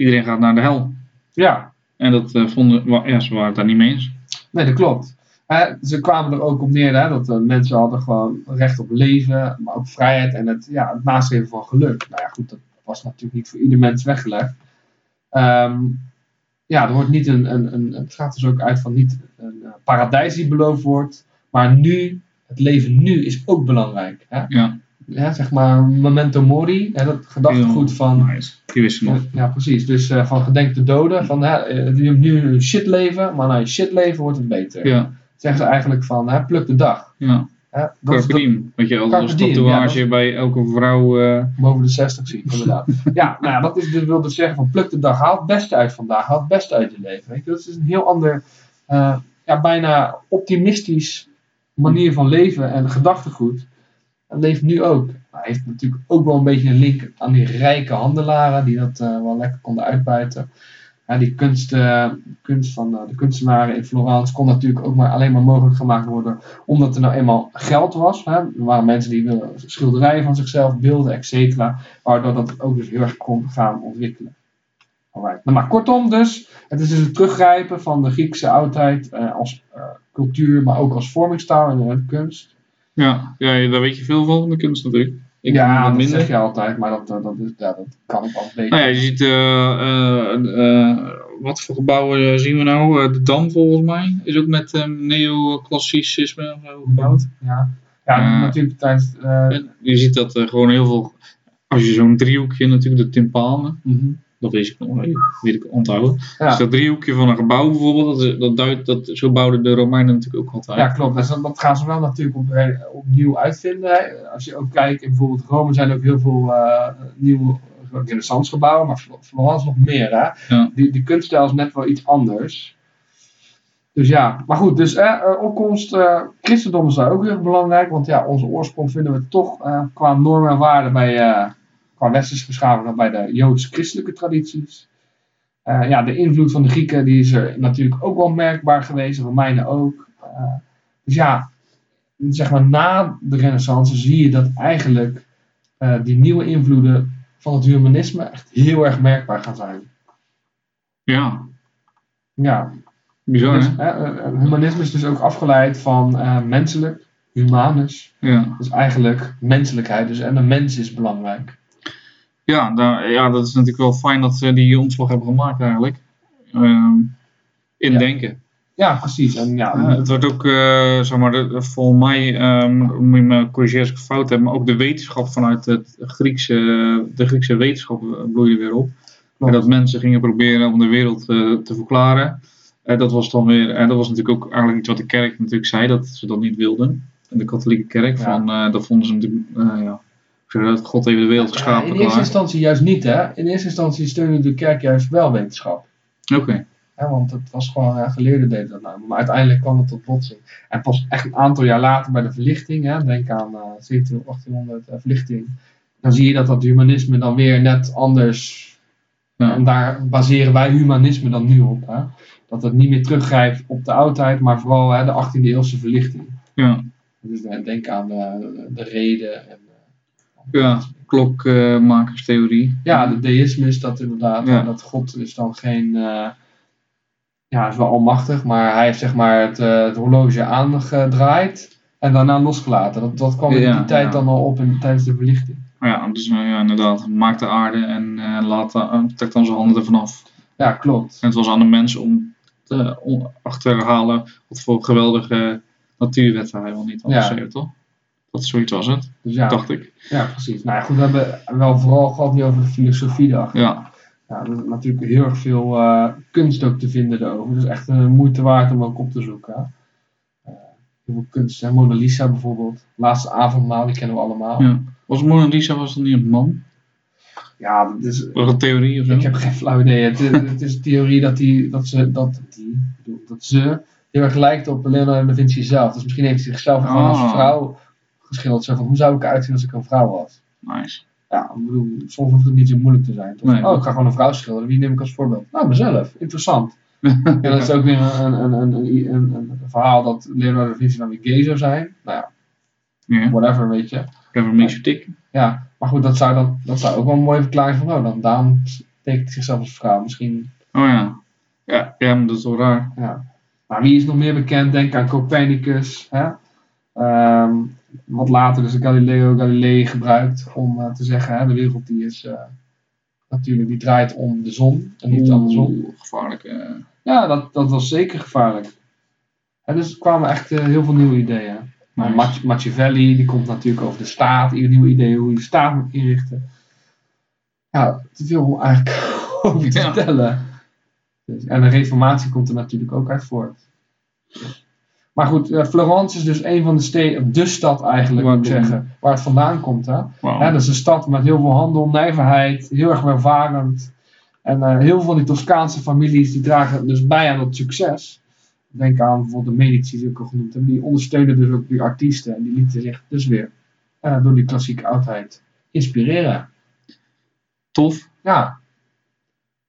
[SPEAKER 1] iedereen gaat naar de hel.
[SPEAKER 2] Ja,
[SPEAKER 1] En dat eh, vonden. wa- Ja, ze waren het daar niet mee eens.
[SPEAKER 2] nee, dat klopt. Hè, ze kwamen er ook op neer hè, dat eh, mensen hadden gewoon recht op leven, maar ook vrijheid en het, ja, het nastreven van geluk. Nou ja, goed, dat was natuurlijk niet voor ieder mens weggelegd. Ehm, ja, er wordt niet een, een, een, het gaat dus ook uit van niet een eh, paradijs die beloofd wordt, maar nu, het leven nu is ook belangrijk. Hè?
[SPEAKER 1] Ja,
[SPEAKER 2] Ja, zeg maar, memento mori, hè, dat gedachtegoed
[SPEAKER 1] Heel
[SPEAKER 2] van
[SPEAKER 1] nice. Die wisten nog.
[SPEAKER 2] ja, ja, precies. Dus eh, van gedenk de doden. Van, hè, eh, je hebt nu een shitleven, maar na je shitleven wordt het beter.
[SPEAKER 1] Ja,
[SPEAKER 2] Zeggen ze eigenlijk van, hè, pluk de dag.
[SPEAKER 1] ja.
[SPEAKER 2] Hè, dat is
[SPEAKER 1] Carpe
[SPEAKER 2] dat
[SPEAKER 1] diem. Weet je, altijd
[SPEAKER 2] Carpe
[SPEAKER 1] als
[SPEAKER 2] diem, ja,
[SPEAKER 1] tatoeage bij elke vrouw. eh,
[SPEAKER 2] boven de 60 zie ik inderdaad. ja, nou ja, dat is, dus wil dus zeggen van, pluk de dag. Haal het beste uit vandaag. Haal het beste uit je leven. Weet je? Dat is een heel ander, eh, ja, bijna optimistisch manier van leven en gedachtegoed. Dat leeft nu ook. Maar Hij heeft natuurlijk ook wel een beetje een link aan die rijke handelaren die dat eh, wel lekker konden uitbuiten. Ja, die kunst, eh, kunst van eh, de kunstenaren in Florence kon natuurlijk ook maar alleen maar mogelijk gemaakt worden omdat er nou eenmaal geld was. Hè. Er waren mensen die wilden schilderijen van zichzelf, beelden, et cetera. Waardoor dat ook dus heel erg kon gaan ontwikkelen. Alright. Nou, maar kortom dus, het is dus het teruggrijpen van de Griekse oudheid eh, als eh, cultuur, maar ook als vormingstaal en eh, kunst.
[SPEAKER 1] Ja, ja, daar weet je veel van, van de kunst natuurlijk. Ik
[SPEAKER 2] ja,
[SPEAKER 1] wat
[SPEAKER 2] dat
[SPEAKER 1] minder.
[SPEAKER 2] zeg je altijd, maar dat, eh, dat, is, ja, dat kan ik al beter.
[SPEAKER 1] Nou ja, je ziet, eh, eh, eh, wat voor gebouwen eh, zien we nou? Eh, de Dam volgens mij is ook met ehm, neoclassicisme of zo gebouwd.
[SPEAKER 2] Ja, ja
[SPEAKER 1] Eh,
[SPEAKER 2] natuurlijk tijdens... eh,
[SPEAKER 1] En je ziet dat er gewoon heel veel, als je zo'n driehoekje natuurlijk, de timpanen,
[SPEAKER 2] mhm.
[SPEAKER 1] dat weet ik nog, eh, weet ik onthouden. Dus
[SPEAKER 2] ja,
[SPEAKER 1] dat driehoekje van een gebouw bijvoorbeeld, dat, is- dat duidt, dat, zo bouwden de Romeinen natuurlijk ook altijd.
[SPEAKER 2] ja, klopt. Dus dat, dat gaan ze wel natuurlijk op, eh, opnieuw uitvinden. hè. Als je ook kijkt, in bijvoorbeeld Rome zijn ook heel veel eh, nieuwe renaissance gebouwen, maar Flo- Florence nog meer. Hè?
[SPEAKER 1] Ja.
[SPEAKER 2] Die, die kunststijl is net wel iets anders. Dus ja, maar goed, dus eh, eh, opkomst, eh, christendom is daar ook heel erg belangrijk, want ja, onze oorsprong vinden we toch eh, qua normen en waarden bij, eh, qua westerse beschaving dan bij de joods-christelijke tradities. Eh, ja, de invloed van de Grieken die is er natuurlijk ook wel merkbaar geweest, de Romeinen ook. Eh, dus ja, zeg maar na de Renaissance zie je dat eigenlijk eh, die nieuwe invloeden van het humanisme echt heel erg merkbaar gaan zijn.
[SPEAKER 1] Ja,
[SPEAKER 2] Ja,
[SPEAKER 1] bizar
[SPEAKER 2] dus,
[SPEAKER 1] hè?
[SPEAKER 2] eh, eh, humanisme is dus ook afgeleid van eh, menselijk, humanus.
[SPEAKER 1] Ja,
[SPEAKER 2] Dus eigenlijk menselijkheid. Dus, en de mens is belangrijk.
[SPEAKER 1] ja, daar, ja dat is natuurlijk wel fijn dat ze die omslag hebben gemaakt eigenlijk. Ehm, in
[SPEAKER 2] Ja.
[SPEAKER 1] denken.
[SPEAKER 2] Ja, precies. En ja,
[SPEAKER 1] Eh, het wordt ook, eh, zeg maar, de- volgens mij, ehm, moet je me corrigeren als ik fout heb, maar ook de wetenschap vanuit het Griekse, de Griekse wetenschap eh, bloeide weer op. En
[SPEAKER 2] klopt.
[SPEAKER 1] dat mensen gingen proberen om de wereld eh, te verklaren. Eh, dat was dan weer, en dat was natuurlijk ook eigenlijk iets wat de kerk natuurlijk zei, dat ze dat niet wilden. En de katholieke kerk,
[SPEAKER 2] Ja.
[SPEAKER 1] van, eh, dat vonden ze natuurlijk, eh, ja, ik zeg dat God heeft de wereld
[SPEAKER 2] Ja,
[SPEAKER 1] geschapen.
[SPEAKER 2] in eerste
[SPEAKER 1] klaar.
[SPEAKER 2] instantie juist niet, hè? In eerste instantie steunde de kerk juist wel wetenschap.
[SPEAKER 1] Oké,
[SPEAKER 2] Hè? Want het was gewoon, ja, geleerden deden dat nou. Maar uiteindelijk kwam het tot botsing. En pas echt een aantal jaar later bij de verlichting, hè? denk aan eh 1700, 1800 eh, verlichting. Dan zie je dat dat humanisme dan weer net anders.
[SPEAKER 1] Ja.
[SPEAKER 2] Eh, En daar baseren wij humanisme dan nu op. Hè? Dat het niet meer teruggrijpt op de oudheid, maar vooral hè, de 18e eeuwse verlichting.
[SPEAKER 1] ja.
[SPEAKER 2] Dus eh, denk aan de, de reden. En, eh,
[SPEAKER 1] ja. Klokmakerstheorie.
[SPEAKER 2] Ja, de deïsme is dat inderdaad.
[SPEAKER 1] Ja.
[SPEAKER 2] en Dat God is dan geen. eh, ja, hij is wel almachtig, maar hij heeft zeg maar het, eh, het horloge aangedraaid en daarna losgelaten. Dat, dat kwam in
[SPEAKER 1] Ja,
[SPEAKER 2] die tijd
[SPEAKER 1] ja.
[SPEAKER 2] dan al op in, tijdens de verlichting.
[SPEAKER 1] Ja, dus nou ja, inderdaad, maak de aarde en eh, laat de, eh, trek dan zijn handen ervan af.
[SPEAKER 2] Ja, klopt.
[SPEAKER 1] En het was aan de mens om te om achter te halen wat voor geweldige natuurwetten hij wel niet had
[SPEAKER 2] Ja.
[SPEAKER 1] geschreven, toch? Dat zoiets was het,
[SPEAKER 2] Dus ja,
[SPEAKER 1] dacht ik.
[SPEAKER 2] ja, precies. Nou ja, goed, we hebben wel vooral gehad nu over de filosofie erachter.
[SPEAKER 1] Ja,
[SPEAKER 2] Ja, er is natuurlijk heel erg veel eh, kunst ook te vinden daarover. Dus echt een moeite waard om ook op te zoeken. hè. Eh, heel veel kunst, hè. Mona Lisa bijvoorbeeld. Laatste avondmaal, die kennen we allemaal.
[SPEAKER 1] ja. Was Mona Lisa was dan niet een man?
[SPEAKER 2] Ja, dat is,
[SPEAKER 1] Was dat een theorie of zo?
[SPEAKER 2] ik heb geen flauw idee. Het, het is een theorie dat, die, dat, ze, dat, die, ik bedoel, dat ze heel erg lijkt op Leonardo da Vinci zelf. Dus misschien heeft hij zichzelf gewoon
[SPEAKER 1] Oh.
[SPEAKER 2] als vrouw geschilderd. Zo van, hoe zou ik eruit zien als ik een vrouw was?
[SPEAKER 1] Nice.
[SPEAKER 2] Ja, ik bedoel, soms hoeft het niet zo moeilijk te zijn. Toch?
[SPEAKER 1] Nee.
[SPEAKER 2] Oh, ik ga gewoon een vrouw schilderen. Wie neem ik als voorbeeld? Nou, mezelf. Interessant. en dat is ook weer een, een, een, een, een, een verhaal dat Leonardo da Vinci dan weer gay zou zijn. Nou ja,
[SPEAKER 1] Ja,
[SPEAKER 2] whatever, weet je.
[SPEAKER 1] ik heb hem niet zo dik.
[SPEAKER 2] Ja, maar goed, dat zou, dan, dat zou ook wel een mooie verklaring van, oh, dan daarom tekent hij zichzelf als vrouw. Misschien,
[SPEAKER 1] Oh ja. ja. Ja, maar dat is wel raar.
[SPEAKER 2] ja. Maar wie is nog meer bekend? Denk aan Copernicus, hè? Ehm, wat later dus Galileo Galilei gebruikt om eh, te zeggen, hè, de wereld die is eh, natuurlijk, die draait om de zon en niet andersom.
[SPEAKER 1] Oeh, Gevaarlijk. eh.
[SPEAKER 2] Ja, dat, dat was zeker gevaarlijk. En dus er kwamen echt eh, heel veel nieuwe ideeën. Maar
[SPEAKER 1] Nice.
[SPEAKER 2] Mach- Machiavelli, die komt natuurlijk over de staat, ieder nieuwe ideeën hoe je de staat moet inrichten. Ja, te veel om eigenlijk over te
[SPEAKER 1] Ja.
[SPEAKER 2] vertellen. Dus, en de reformatie komt er natuurlijk ook uit voort. Maar goed, eh, Florence is dus een van de steden, de stad eigenlijk,
[SPEAKER 1] Waar
[SPEAKER 2] moet ik
[SPEAKER 1] het-
[SPEAKER 2] zeggen, waar het vandaan komt. Hè?
[SPEAKER 1] Wauw.
[SPEAKER 2] Ja, dat is een stad met heel veel handel, nijverheid, heel erg welvarend. En eh, heel veel van die Toscaanse families die dragen dus bij aan dat succes. Denk aan bijvoorbeeld de Medici, die ik al genoemd heb. Die ondersteunen dus ook die artiesten. En die lieten zich dus weer eh, door die klassieke oudheid inspireren.
[SPEAKER 1] Tof.
[SPEAKER 2] Ja.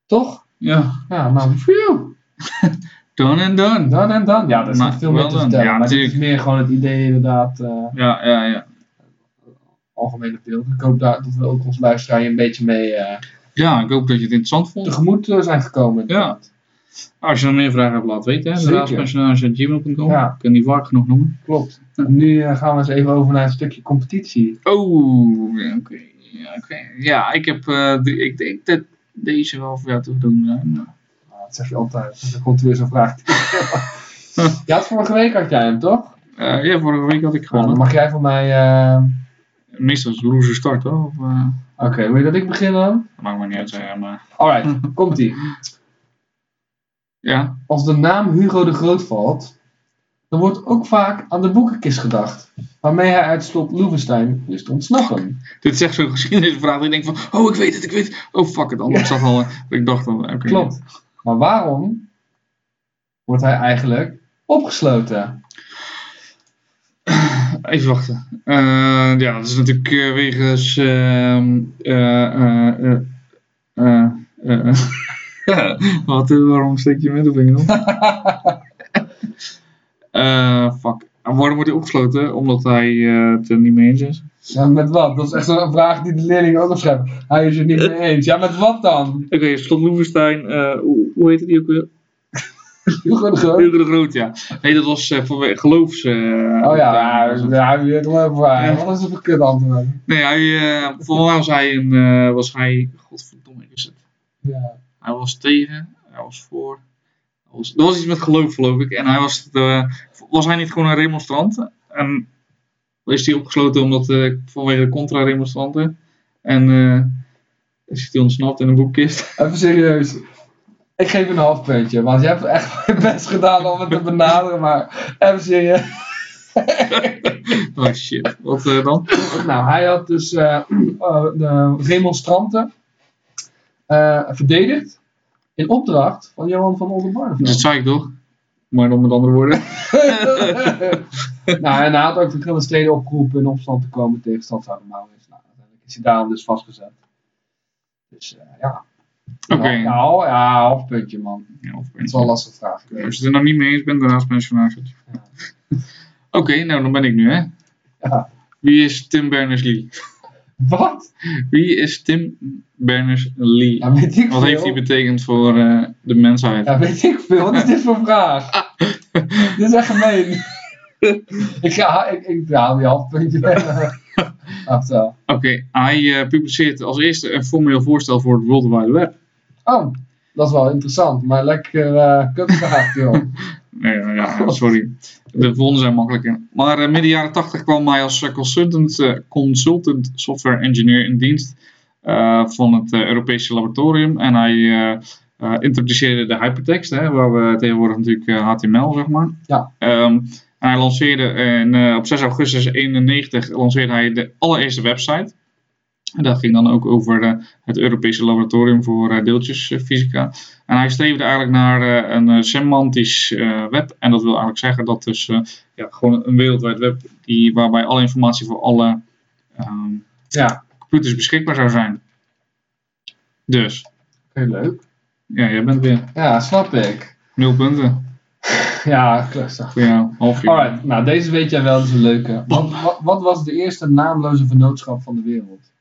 [SPEAKER 2] Toch?
[SPEAKER 1] Ja.
[SPEAKER 2] Ja, nou, phew,
[SPEAKER 1] Done and done.
[SPEAKER 2] dan en dan. Ja, dat is
[SPEAKER 1] Maar
[SPEAKER 2] nog veel meer
[SPEAKER 1] wel
[SPEAKER 2] te
[SPEAKER 1] dan.
[SPEAKER 2] vertellen.
[SPEAKER 1] Ja,
[SPEAKER 2] maar het is
[SPEAKER 1] natuurlijk.
[SPEAKER 2] meer gewoon het idee inderdaad, eh,
[SPEAKER 1] Ja, ja, ja.
[SPEAKER 2] algemene beeld. Ik hoop daar, dat we ook ons luisteraar hier een beetje mee eh,
[SPEAKER 1] Ja, ik hoop dat je het interessant vond.
[SPEAKER 2] tegemoet eh, zijn gekomen.
[SPEAKER 1] Ja. Als je nog meer vragen hebt, laat weten. hè.
[SPEAKER 2] Zeker.
[SPEAKER 1] Raadspersonage.gmail.com.
[SPEAKER 2] Ja.
[SPEAKER 1] Ik kan die vaak genoeg noemen.
[SPEAKER 2] Klopt. Nu eh, gaan we eens even over naar een stukje competitie.
[SPEAKER 1] Oh, ja, oké. Ja, oké. ja, ik heb... eh, die- ik denk dat deze wel voor jou te doen. hè. Nou,
[SPEAKER 2] Nou, dat zeg je altijd. Dan komt er weer zo'n vraag. je had vorige week had jij hem, toch?
[SPEAKER 1] eh, ja, vorige week had ik
[SPEAKER 2] Nou, dan
[SPEAKER 1] gewonnen.
[SPEAKER 2] mag jij van mij... eh,
[SPEAKER 1] Meestal is het loser start, hoor. Of, eh,
[SPEAKER 2] Oké, wil je dat ik begin dan?
[SPEAKER 1] dat maakt me niet uit, eh, maar...
[SPEAKER 2] Alright, komt ie.
[SPEAKER 1] Ja,
[SPEAKER 2] Als de naam Hugo de Groot valt, dan wordt ook vaak aan de boekenkist gedacht. Waarmee hij uit slot Loevestein wist te ontsnappen.
[SPEAKER 1] dit is echt zo'n geschiedenisvraag. Ik denk van, oh, ik weet het, ik weet het. Oh, fuck het, anders zat al... eh, Ik dacht al, oké.
[SPEAKER 2] Klopt. Maar waarom wordt hij eigenlijk opgesloten?
[SPEAKER 1] Even wachten. Eh, ja, dat is natuurlijk eh, wegens. ehm, eh, eh, eh, eh, eh, Ja, wat, eh, waarom steek je je middelvinger op? Eh, fuck. En waarom wordt hij opgesloten? Omdat hij eh, het er niet mee eens is.
[SPEAKER 2] Ja, met wat? Dat is echt een vraag die de leerlingen ook opschrijven. Hij is het niet mee eens. Ja, met wat dan?
[SPEAKER 1] Oké, Slot Loevestein, eh, hoe, hoe heette die ook weer?
[SPEAKER 2] Hugo de Groot.
[SPEAKER 1] Hugo de Groot, ja. Nee, dat was eh, vanwege geloofs... eh,
[SPEAKER 2] Oh ja,
[SPEAKER 1] optuiging.
[SPEAKER 2] ja, wie weet hem even waar.
[SPEAKER 1] Ja.
[SPEAKER 2] Wat is het voor kut antwoord?
[SPEAKER 1] Nee, hij, eh, volgens mij was hij een... eh, was hij... Godverdomme is het.
[SPEAKER 2] Ja.
[SPEAKER 1] Hij was tegen, hij was voor. Hij was, er was iets met geloof, geloof ik. En hij was, de, was hij niet gewoon een remonstrant? En is hij opgesloten omdat, eh, vanwege de contra-remonstranten? En eh, is hij ontsnapt in een boekkist?
[SPEAKER 2] Even serieus. Ik geef je een half puntje, want je hebt echt je best gedaan om het te benaderen, maar even serieus.
[SPEAKER 1] oh shit, wat eh, dan?
[SPEAKER 2] Nou, hij had dus eh, eh, de remonstranten eh, verdedigd in opdracht van Johan van Oldenbarneveld.
[SPEAKER 1] Dat zei ik toch? Maar dan met andere woorden.
[SPEAKER 2] nou, en hij had ook verschillende steden opgeroepen in opstand te komen tegen stadshouder Maurits. Nou, uiteindelijk is hij daarom dus vastgezet. Dus eh, ja.
[SPEAKER 1] Oké.
[SPEAKER 2] Nou, ja, half puntje man.
[SPEAKER 1] Ja, of-
[SPEAKER 2] Dat is wel een lastige vraag.
[SPEAKER 1] Als je het er nog niet mee eens bent, daarnaast is mijn journaal.
[SPEAKER 2] Ja.
[SPEAKER 1] Oké, nou dan ben ik nu hè.
[SPEAKER 2] Ja.
[SPEAKER 1] Wie is Tim Berners-Lee?
[SPEAKER 2] Wat?
[SPEAKER 1] Wie is Tim Berners-Lee?
[SPEAKER 2] Ja, weet ik
[SPEAKER 1] Wat
[SPEAKER 2] veel.
[SPEAKER 1] heeft die betekend voor eh, de mensheid?
[SPEAKER 2] Ja, weet ik veel. Wat is dit voor vraag? dit is echt gemeen. ik, ga, ik, ik haal die half puntje weg. Ach zo.
[SPEAKER 1] Oké, hij eh, publiceert als eerste een formeel voorstel voor het World Wide Web.
[SPEAKER 2] Oh, dat is wel interessant, maar lekker eh kutvraag joh.
[SPEAKER 1] Nee, ja, ja, sorry. De volgende zijn makkelijker. Maar eh, midden jaren 80 kwam hij als eh, consultant, eh, consultant software engineer in dienst eh, van het eh, Europese laboratorium. En hij eh, eh, introduceerde de hypertext, hè, waar we tegenwoordig natuurlijk eh, HTML, zeg maar.
[SPEAKER 2] Ja.
[SPEAKER 1] Ehm, en hij lanceerde in, eh, op 6 augustus 91 lanceerde hij de allereerste website. En dat ging dan ook over eh, het Europese laboratorium voor eh, deeltjesfysica. En hij streefde eigenlijk naar eh, een eh, semantisch eh, web. En dat wil eigenlijk zeggen dat dus eh, ja, gewoon een wereldwijd web die, waarbij alle informatie voor alle ehm,
[SPEAKER 2] Ja,
[SPEAKER 1] computers beschikbaar zou zijn. Dus,
[SPEAKER 2] heel leuk.
[SPEAKER 1] ja, jij bent weer
[SPEAKER 2] Ja, snap ik.
[SPEAKER 1] nul punten
[SPEAKER 2] Ja, rustig.
[SPEAKER 1] voor jou. Half uur.
[SPEAKER 2] Alright, nou deze weet jij wel, dat is een leuke. Wat, wat, wat was de eerste naamloze vernootschap van de wereld?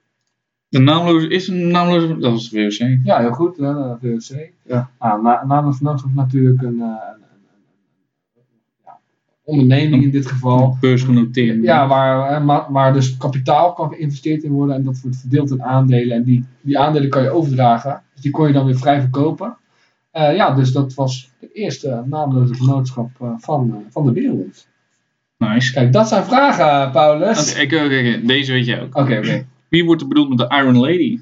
[SPEAKER 1] De naamloze is een naamloze. Dat was het WC.
[SPEAKER 2] Ja, heel goed, hè, eh, de VOC.
[SPEAKER 1] Ja.
[SPEAKER 2] Nou, na, naamloze vernootschap is natuurlijk een, eh, een, een, een- een- ja, onderneming in dit geval.
[SPEAKER 1] Beursgenoteerd.
[SPEAKER 2] Ja, waar, hè, ma- waar dus kapitaal kan geïnvesteerd in worden en dat wordt verdeeld in aandelen. En die, die aandelen kan je overdragen, dus die kon je dan weer vrij verkopen. Eh, ja, dus dat was de eerste naamloze vernootschap eh, van, eh, van de wereld.
[SPEAKER 1] Nice.
[SPEAKER 2] Kijk, dat zijn vragen, eh, Paulus.
[SPEAKER 1] Oké, oké, oké, deze weet jij ook.
[SPEAKER 2] Oké, oké.
[SPEAKER 1] Wie wordt er bedoeld met de Iron Lady?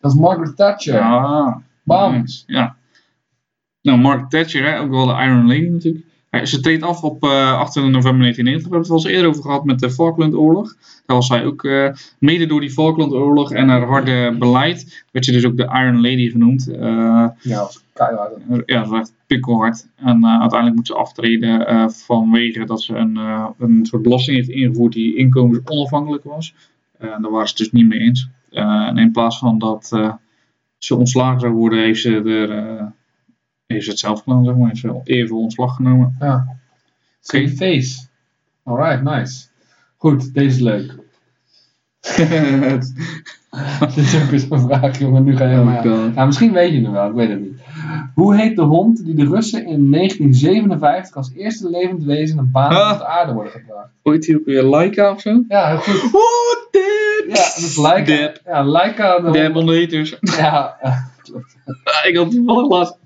[SPEAKER 2] Dat is Margaret Thatcher.
[SPEAKER 1] Ah,
[SPEAKER 2] Bam.
[SPEAKER 1] nice. Ja. Nou, Mark Thatcher, hè, ook wel de Iron Lady natuurlijk. Hij- Ze treedt af op eh 18 november 1990. We hebben het wel eens eerder over gehad met de Falklandoorlog. Daar was hij ook eh, mede door die Falklandoorlog en haar harde beleid. werd ze dus ook de Iron Lady genoemd. Eh,
[SPEAKER 2] Ja, dat is keihard.
[SPEAKER 1] ja, dat werd pikkelhard. En eh, uiteindelijk moet ze aftreden eh, vanwege dat ze een, eh, een soort belasting heeft ingevoerd die inkomensonafhankelijk was. Eh, daar waren ze het dus niet mee eens. Eh, en in plaats van dat eh, ze ontslagen zou worden, heeft ze, er, eh, heeft ze het zelf gedaan, zeg maar. Heeft ze even ontslag genomen.
[SPEAKER 2] Ja. Geen face. Alright, nice. Goed, deze is leuk. Dit is ook eens een vraag, jongen. Nu ga je
[SPEAKER 1] Oh
[SPEAKER 2] maar.
[SPEAKER 1] God.
[SPEAKER 2] Nou, misschien weet je het wel, ik weet het niet. Hoe heet de hond die de Russen in 1957 als eerste levend wezen een baan
[SPEAKER 1] Ah.
[SPEAKER 2] op de aarde worden gebracht?
[SPEAKER 1] Ooit hier ook weer Laika of zo?
[SPEAKER 2] Ja, heel goed.
[SPEAKER 1] Oh, dit!
[SPEAKER 2] Ja, dat is Laika.
[SPEAKER 1] Deb.
[SPEAKER 2] Ja, Laika de
[SPEAKER 1] Deb
[SPEAKER 2] hond.
[SPEAKER 1] on the haters.
[SPEAKER 2] Ja, eh, klopt.
[SPEAKER 1] Ah, ik had toevallig laatst.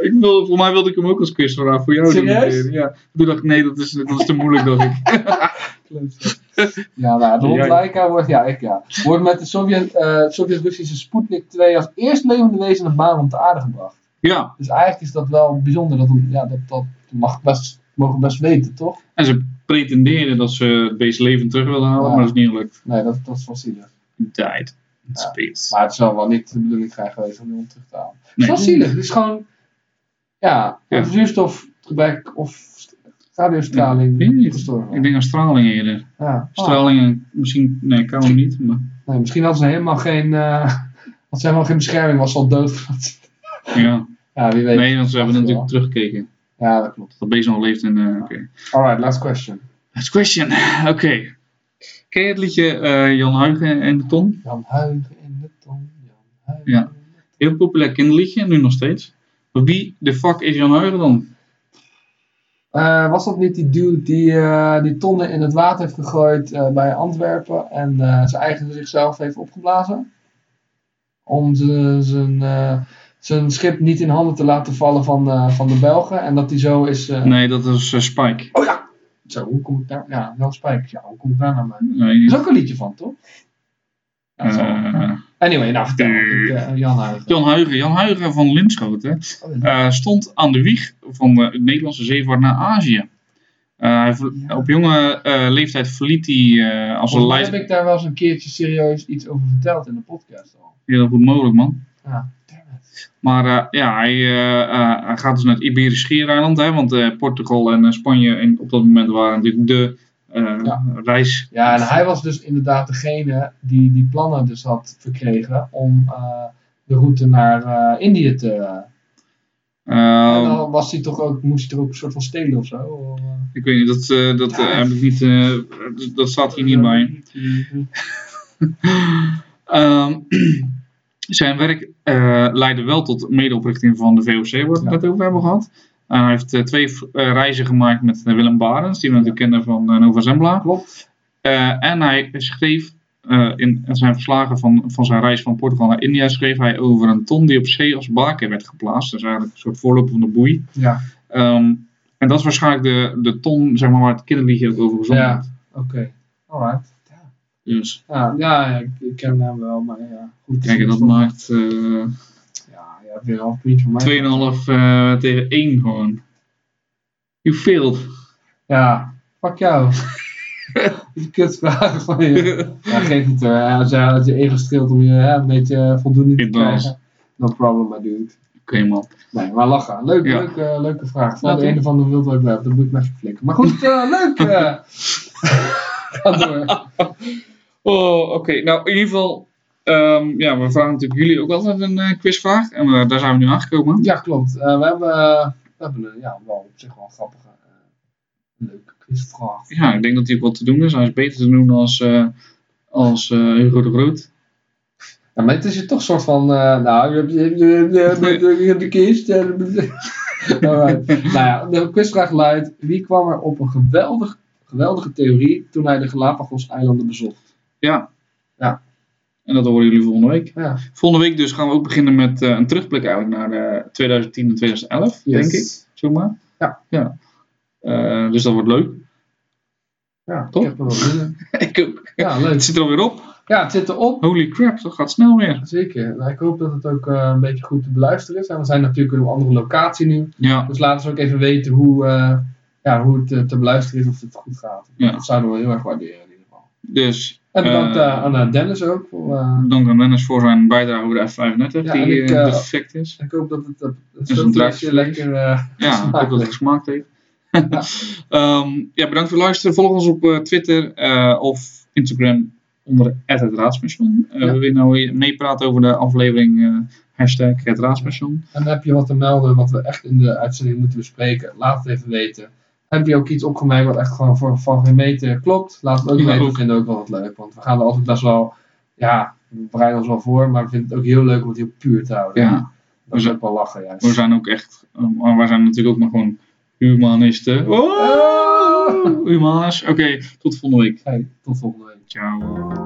[SPEAKER 1] Ik wil, voor mij wilde ik hem ook als quizvraag voor jou
[SPEAKER 2] Serieus?
[SPEAKER 1] doen. Ja. Toen dacht ik, nee, dat is, dat is te moeilijk, dacht ik.
[SPEAKER 2] klopt. Ja, nou, de hond
[SPEAKER 1] Ja.
[SPEAKER 2] Laika wordt, ja, ik, ja, wordt met de Sovjet, eh, Sovjet-Russische Sputnik 2 als eerst levende wezen een baan op de aarde gebracht.
[SPEAKER 1] Ja,
[SPEAKER 2] Dus eigenlijk is dat wel bijzonder. Dat, ja, dat, dat mag best, mogen we best weten, toch?
[SPEAKER 1] en ze pretendeerden dat ze het beest levend terug wilden halen,
[SPEAKER 2] Ja.
[SPEAKER 1] maar dat is niet gelukt.
[SPEAKER 2] Nee, dat, dat is wel zielig.
[SPEAKER 1] It died. It's
[SPEAKER 2] Ja.
[SPEAKER 1] space.
[SPEAKER 2] Maar het zou wel niet de bedoeling zijn geweest om die hond terug te halen. Het is
[SPEAKER 1] Nee.
[SPEAKER 2] wel zielig. Het is gewoon, ja,
[SPEAKER 1] Ja.
[SPEAKER 2] op zuurstofgebrek of st- radiostraling
[SPEAKER 1] Ja, ik weet niet.
[SPEAKER 2] gestorven.
[SPEAKER 1] Ik denk aan straling eerder.
[SPEAKER 2] Ja. Ah,
[SPEAKER 1] Stralingen, misschien, nee, kan hem niet, maar
[SPEAKER 2] nee, misschien hadden ze helemaal geen, eh hadden ze helemaal geen bescherming, was ze al dood.
[SPEAKER 1] ja.
[SPEAKER 2] Ja, wie weet.
[SPEAKER 1] Nee, want ze hebben natuurlijk teruggekeken.
[SPEAKER 2] Ja, dat klopt.
[SPEAKER 1] Dat Bees nog leeft en... eh, oké.
[SPEAKER 2] Alright, last question.
[SPEAKER 1] Last question. Oké. Ken je het liedje eh, Jan Huigen en de Ton?
[SPEAKER 2] Jan Huigen in de ton. Jan Huigen.
[SPEAKER 1] Ja. Heel populair kinderliedje, nu nog steeds. Maar wie de fuck is Jan Huigen dan?
[SPEAKER 2] Eh, was dat niet die dude die, eh, die tonnen in het water heeft gegooid eh, bij Antwerpen en eh, zijn eigen zichzelf heeft opgeblazen? Om ze- zijn eh, zijn schip niet in handen te laten vallen van, eh, van de Belgen en dat hij zo is. eh,
[SPEAKER 1] Nee, dat is eh, Spike.
[SPEAKER 2] Oh ja! Zo, hoe kom ik daar? Ja, Jan Spijkers, ja, hoe kom ik daar naar mij?
[SPEAKER 1] Nee,
[SPEAKER 2] Er is ook een liedje van, toch? Ja, dat zal wel.
[SPEAKER 1] eh,
[SPEAKER 2] Anyway, nou vertel. Ik, eh, Jan Oh, Huigen.
[SPEAKER 1] Jan Huigen. Jan Huigen van Linschoten eh, stond aan de wieg van de Nederlandse zeevaart naar Azië. Eh, hij ver-
[SPEAKER 2] Ja.
[SPEAKER 1] Op jonge eh, leeftijd verliet hij eh, als een
[SPEAKER 2] Volgens mij heb
[SPEAKER 1] leider.
[SPEAKER 2] ik daar wel eens een keertje serieus iets over verteld in de podcast al.
[SPEAKER 1] Heel goed mogelijk, man.
[SPEAKER 2] Ja, damn it.
[SPEAKER 1] Maar eh, ja, hij, eh, eh, hij gaat dus naar het Iberisch Schiereiland. Hè, want eh, Portugal en eh, Spanje en op dat moment waren natuurlijk de eh,
[SPEAKER 2] Ja.
[SPEAKER 1] reis.
[SPEAKER 2] Ja, en hij was dus inderdaad degene die die plannen dus had verkregen om eh, de route naar eh, Indië te...
[SPEAKER 1] Eh,
[SPEAKER 2] en dan was hij toch ook, moest hij er ook een soort van stelen of zo? of, eh,
[SPEAKER 1] ik weet niet, dat, eh, dat eh, heb ik niet. eh, d- dat staat hier niet bij. Ehm, zijn werk eh, leidde wel tot medeoprichting van de VOC, waar we het
[SPEAKER 2] Ja.
[SPEAKER 1] net over hebben gehad. En hij heeft eh, twee v- eh, reizen gemaakt met eh, Willem Barens, die we natuurlijk kennen van eh, Nova Zembla.
[SPEAKER 2] Klopt.
[SPEAKER 1] Eh, en hij schreef eh, in zijn verslagen van, van zijn reis van Portugal naar India, schreef hij over een ton die op zee als baken werd geplaatst. Dat is eigenlijk een soort voorloper van de boei.
[SPEAKER 2] Ja,
[SPEAKER 1] Ehm, en dat is waarschijnlijk de, de ton zeg maar, waar het kinderliedje ook over gezongen
[SPEAKER 2] Ja.
[SPEAKER 1] werd.
[SPEAKER 2] oké. Alright.
[SPEAKER 1] Dus
[SPEAKER 2] Ja, ja, ja, ik, ik ken hem wel, maar ja. Goed,
[SPEAKER 1] kijk, dat maakt eh 2,5
[SPEAKER 2] Ja, ja, weer een half puntje van mij.
[SPEAKER 1] eh, tegen 1 gewoon. You failed.
[SPEAKER 2] Ja, fuck jou. Die kutvragen van je. Ja, geef het er. Als je, als je ego streelt om je hè, een beetje eh, voldoening te
[SPEAKER 1] Inderdaad.
[SPEAKER 2] krijgen. No problem, my dude.
[SPEAKER 1] Oké man.
[SPEAKER 2] Nee, maar lachen. Leuk,
[SPEAKER 1] Ja.
[SPEAKER 2] leuke, leuke vraag. Van
[SPEAKER 1] Laat
[SPEAKER 2] de
[SPEAKER 1] doen.
[SPEAKER 2] een of andere wilde ook wel. Dat moet ik me even flikken. Maar goed, eh, leuk. eh. Ga door.
[SPEAKER 1] Oh, oké. Nou, in ieder geval, ehm, ja, we vragen natuurlijk jullie ook altijd een eh, quizvraag. En eh, daar zijn we nu aangekomen.
[SPEAKER 2] Ja, klopt. Eh, we hebben, eh, we hebben een, ja, wel op zich wel een grappige, eh, leuke quizvraag.
[SPEAKER 1] Ja, ik denk dat hij ook wat te doen is. Hij is beter te doen als, eh, als eh, Hugo de Groot.
[SPEAKER 2] Ja, maar het is je toch soort van, eh, nou, je hebt, je hebt, je hebt- je hebt- je hebt- je hebt de kist. eh, Alright. nou ja, de quizvraag luidt, wie kwam er op een geweldig, geweldige theorie toen hij de Galapagos-eilanden bezocht?
[SPEAKER 1] Ja.
[SPEAKER 2] Ja.
[SPEAKER 1] En dat horen jullie volgende week.
[SPEAKER 2] Ja,
[SPEAKER 1] Volgende week dus gaan we ook beginnen met eh, een terugblik eigenlijk naar eh, 2010 en 2011,
[SPEAKER 2] Yes.
[SPEAKER 1] denk ik. Zomaar.
[SPEAKER 2] Ja.
[SPEAKER 1] ja. Eh, dus dat wordt leuk.
[SPEAKER 2] ja
[SPEAKER 1] Top.
[SPEAKER 2] Ik heb er wel zin in.
[SPEAKER 1] ik ook.
[SPEAKER 2] Ja,
[SPEAKER 1] Het
[SPEAKER 2] leuk.
[SPEAKER 1] zit er alweer op.
[SPEAKER 2] Ja, het zit erop.
[SPEAKER 1] Holy crap, dat gaat snel weer.
[SPEAKER 2] Zeker. Nou, ik hoop dat het ook eh, een beetje goed te beluisteren is. En we zijn natuurlijk op een andere locatie nu.
[SPEAKER 1] Ja.
[SPEAKER 2] Dus laat ons ook even weten hoe, eh, ja, hoe het eh, te beluisteren is. Of het goed gaat.
[SPEAKER 1] Ja.
[SPEAKER 2] Dat zouden we heel erg waarderen in ieder geval.
[SPEAKER 1] Dus.
[SPEAKER 2] En bedankt
[SPEAKER 1] eh,
[SPEAKER 2] eh, aan eh, Dennis ook. Voor, eh,
[SPEAKER 1] Dank aan Dennis voor zijn bijdrage over de F35,
[SPEAKER 2] Ja, en
[SPEAKER 1] die
[SPEAKER 2] ik,
[SPEAKER 1] eh,
[SPEAKER 2] eh,
[SPEAKER 1] defect is.
[SPEAKER 2] ik hoop dat het, eh, het
[SPEAKER 1] een
[SPEAKER 2] filmpje
[SPEAKER 1] drankje.
[SPEAKER 2] lekker... eh,
[SPEAKER 1] Ja, ik hoop dat het gesmaakt heeft.
[SPEAKER 2] Ja.
[SPEAKER 1] Ehm, ja, bedankt voor het luisteren. Volg ons op eh, Twitter eh, of Instagram onder het Raadspension. Eh,
[SPEAKER 2] Ja.
[SPEAKER 1] We willen nou weer meepraten over de aflevering eh, hashtag het Raadspension.
[SPEAKER 2] en heb je wat te melden wat we echt in de uitzending moeten bespreken? Laat het even weten. Heb je ook iets opgemerkt wat echt gewoon voor, van geen meter klopt? Laat het ook
[SPEAKER 1] Ja,
[SPEAKER 2] weten.
[SPEAKER 1] ook.
[SPEAKER 2] We vinden het ook wel wat leuk. Want we gaan er altijd best wel... Ja, we bereiden ons wel voor. Maar we vinden het ook heel leuk om het heel puur te houden.
[SPEAKER 1] Ja,
[SPEAKER 2] Dat is
[SPEAKER 1] We
[SPEAKER 2] ook wel lachen, juist.
[SPEAKER 1] we zijn ook echt, eh, maar wij zijn natuurlijk ook maar gewoon humanisten. Oh,
[SPEAKER 2] Oh! Ah!
[SPEAKER 1] humanis. Oké, tot volgende week.
[SPEAKER 2] Hey, tot volgende week.
[SPEAKER 1] Ciao.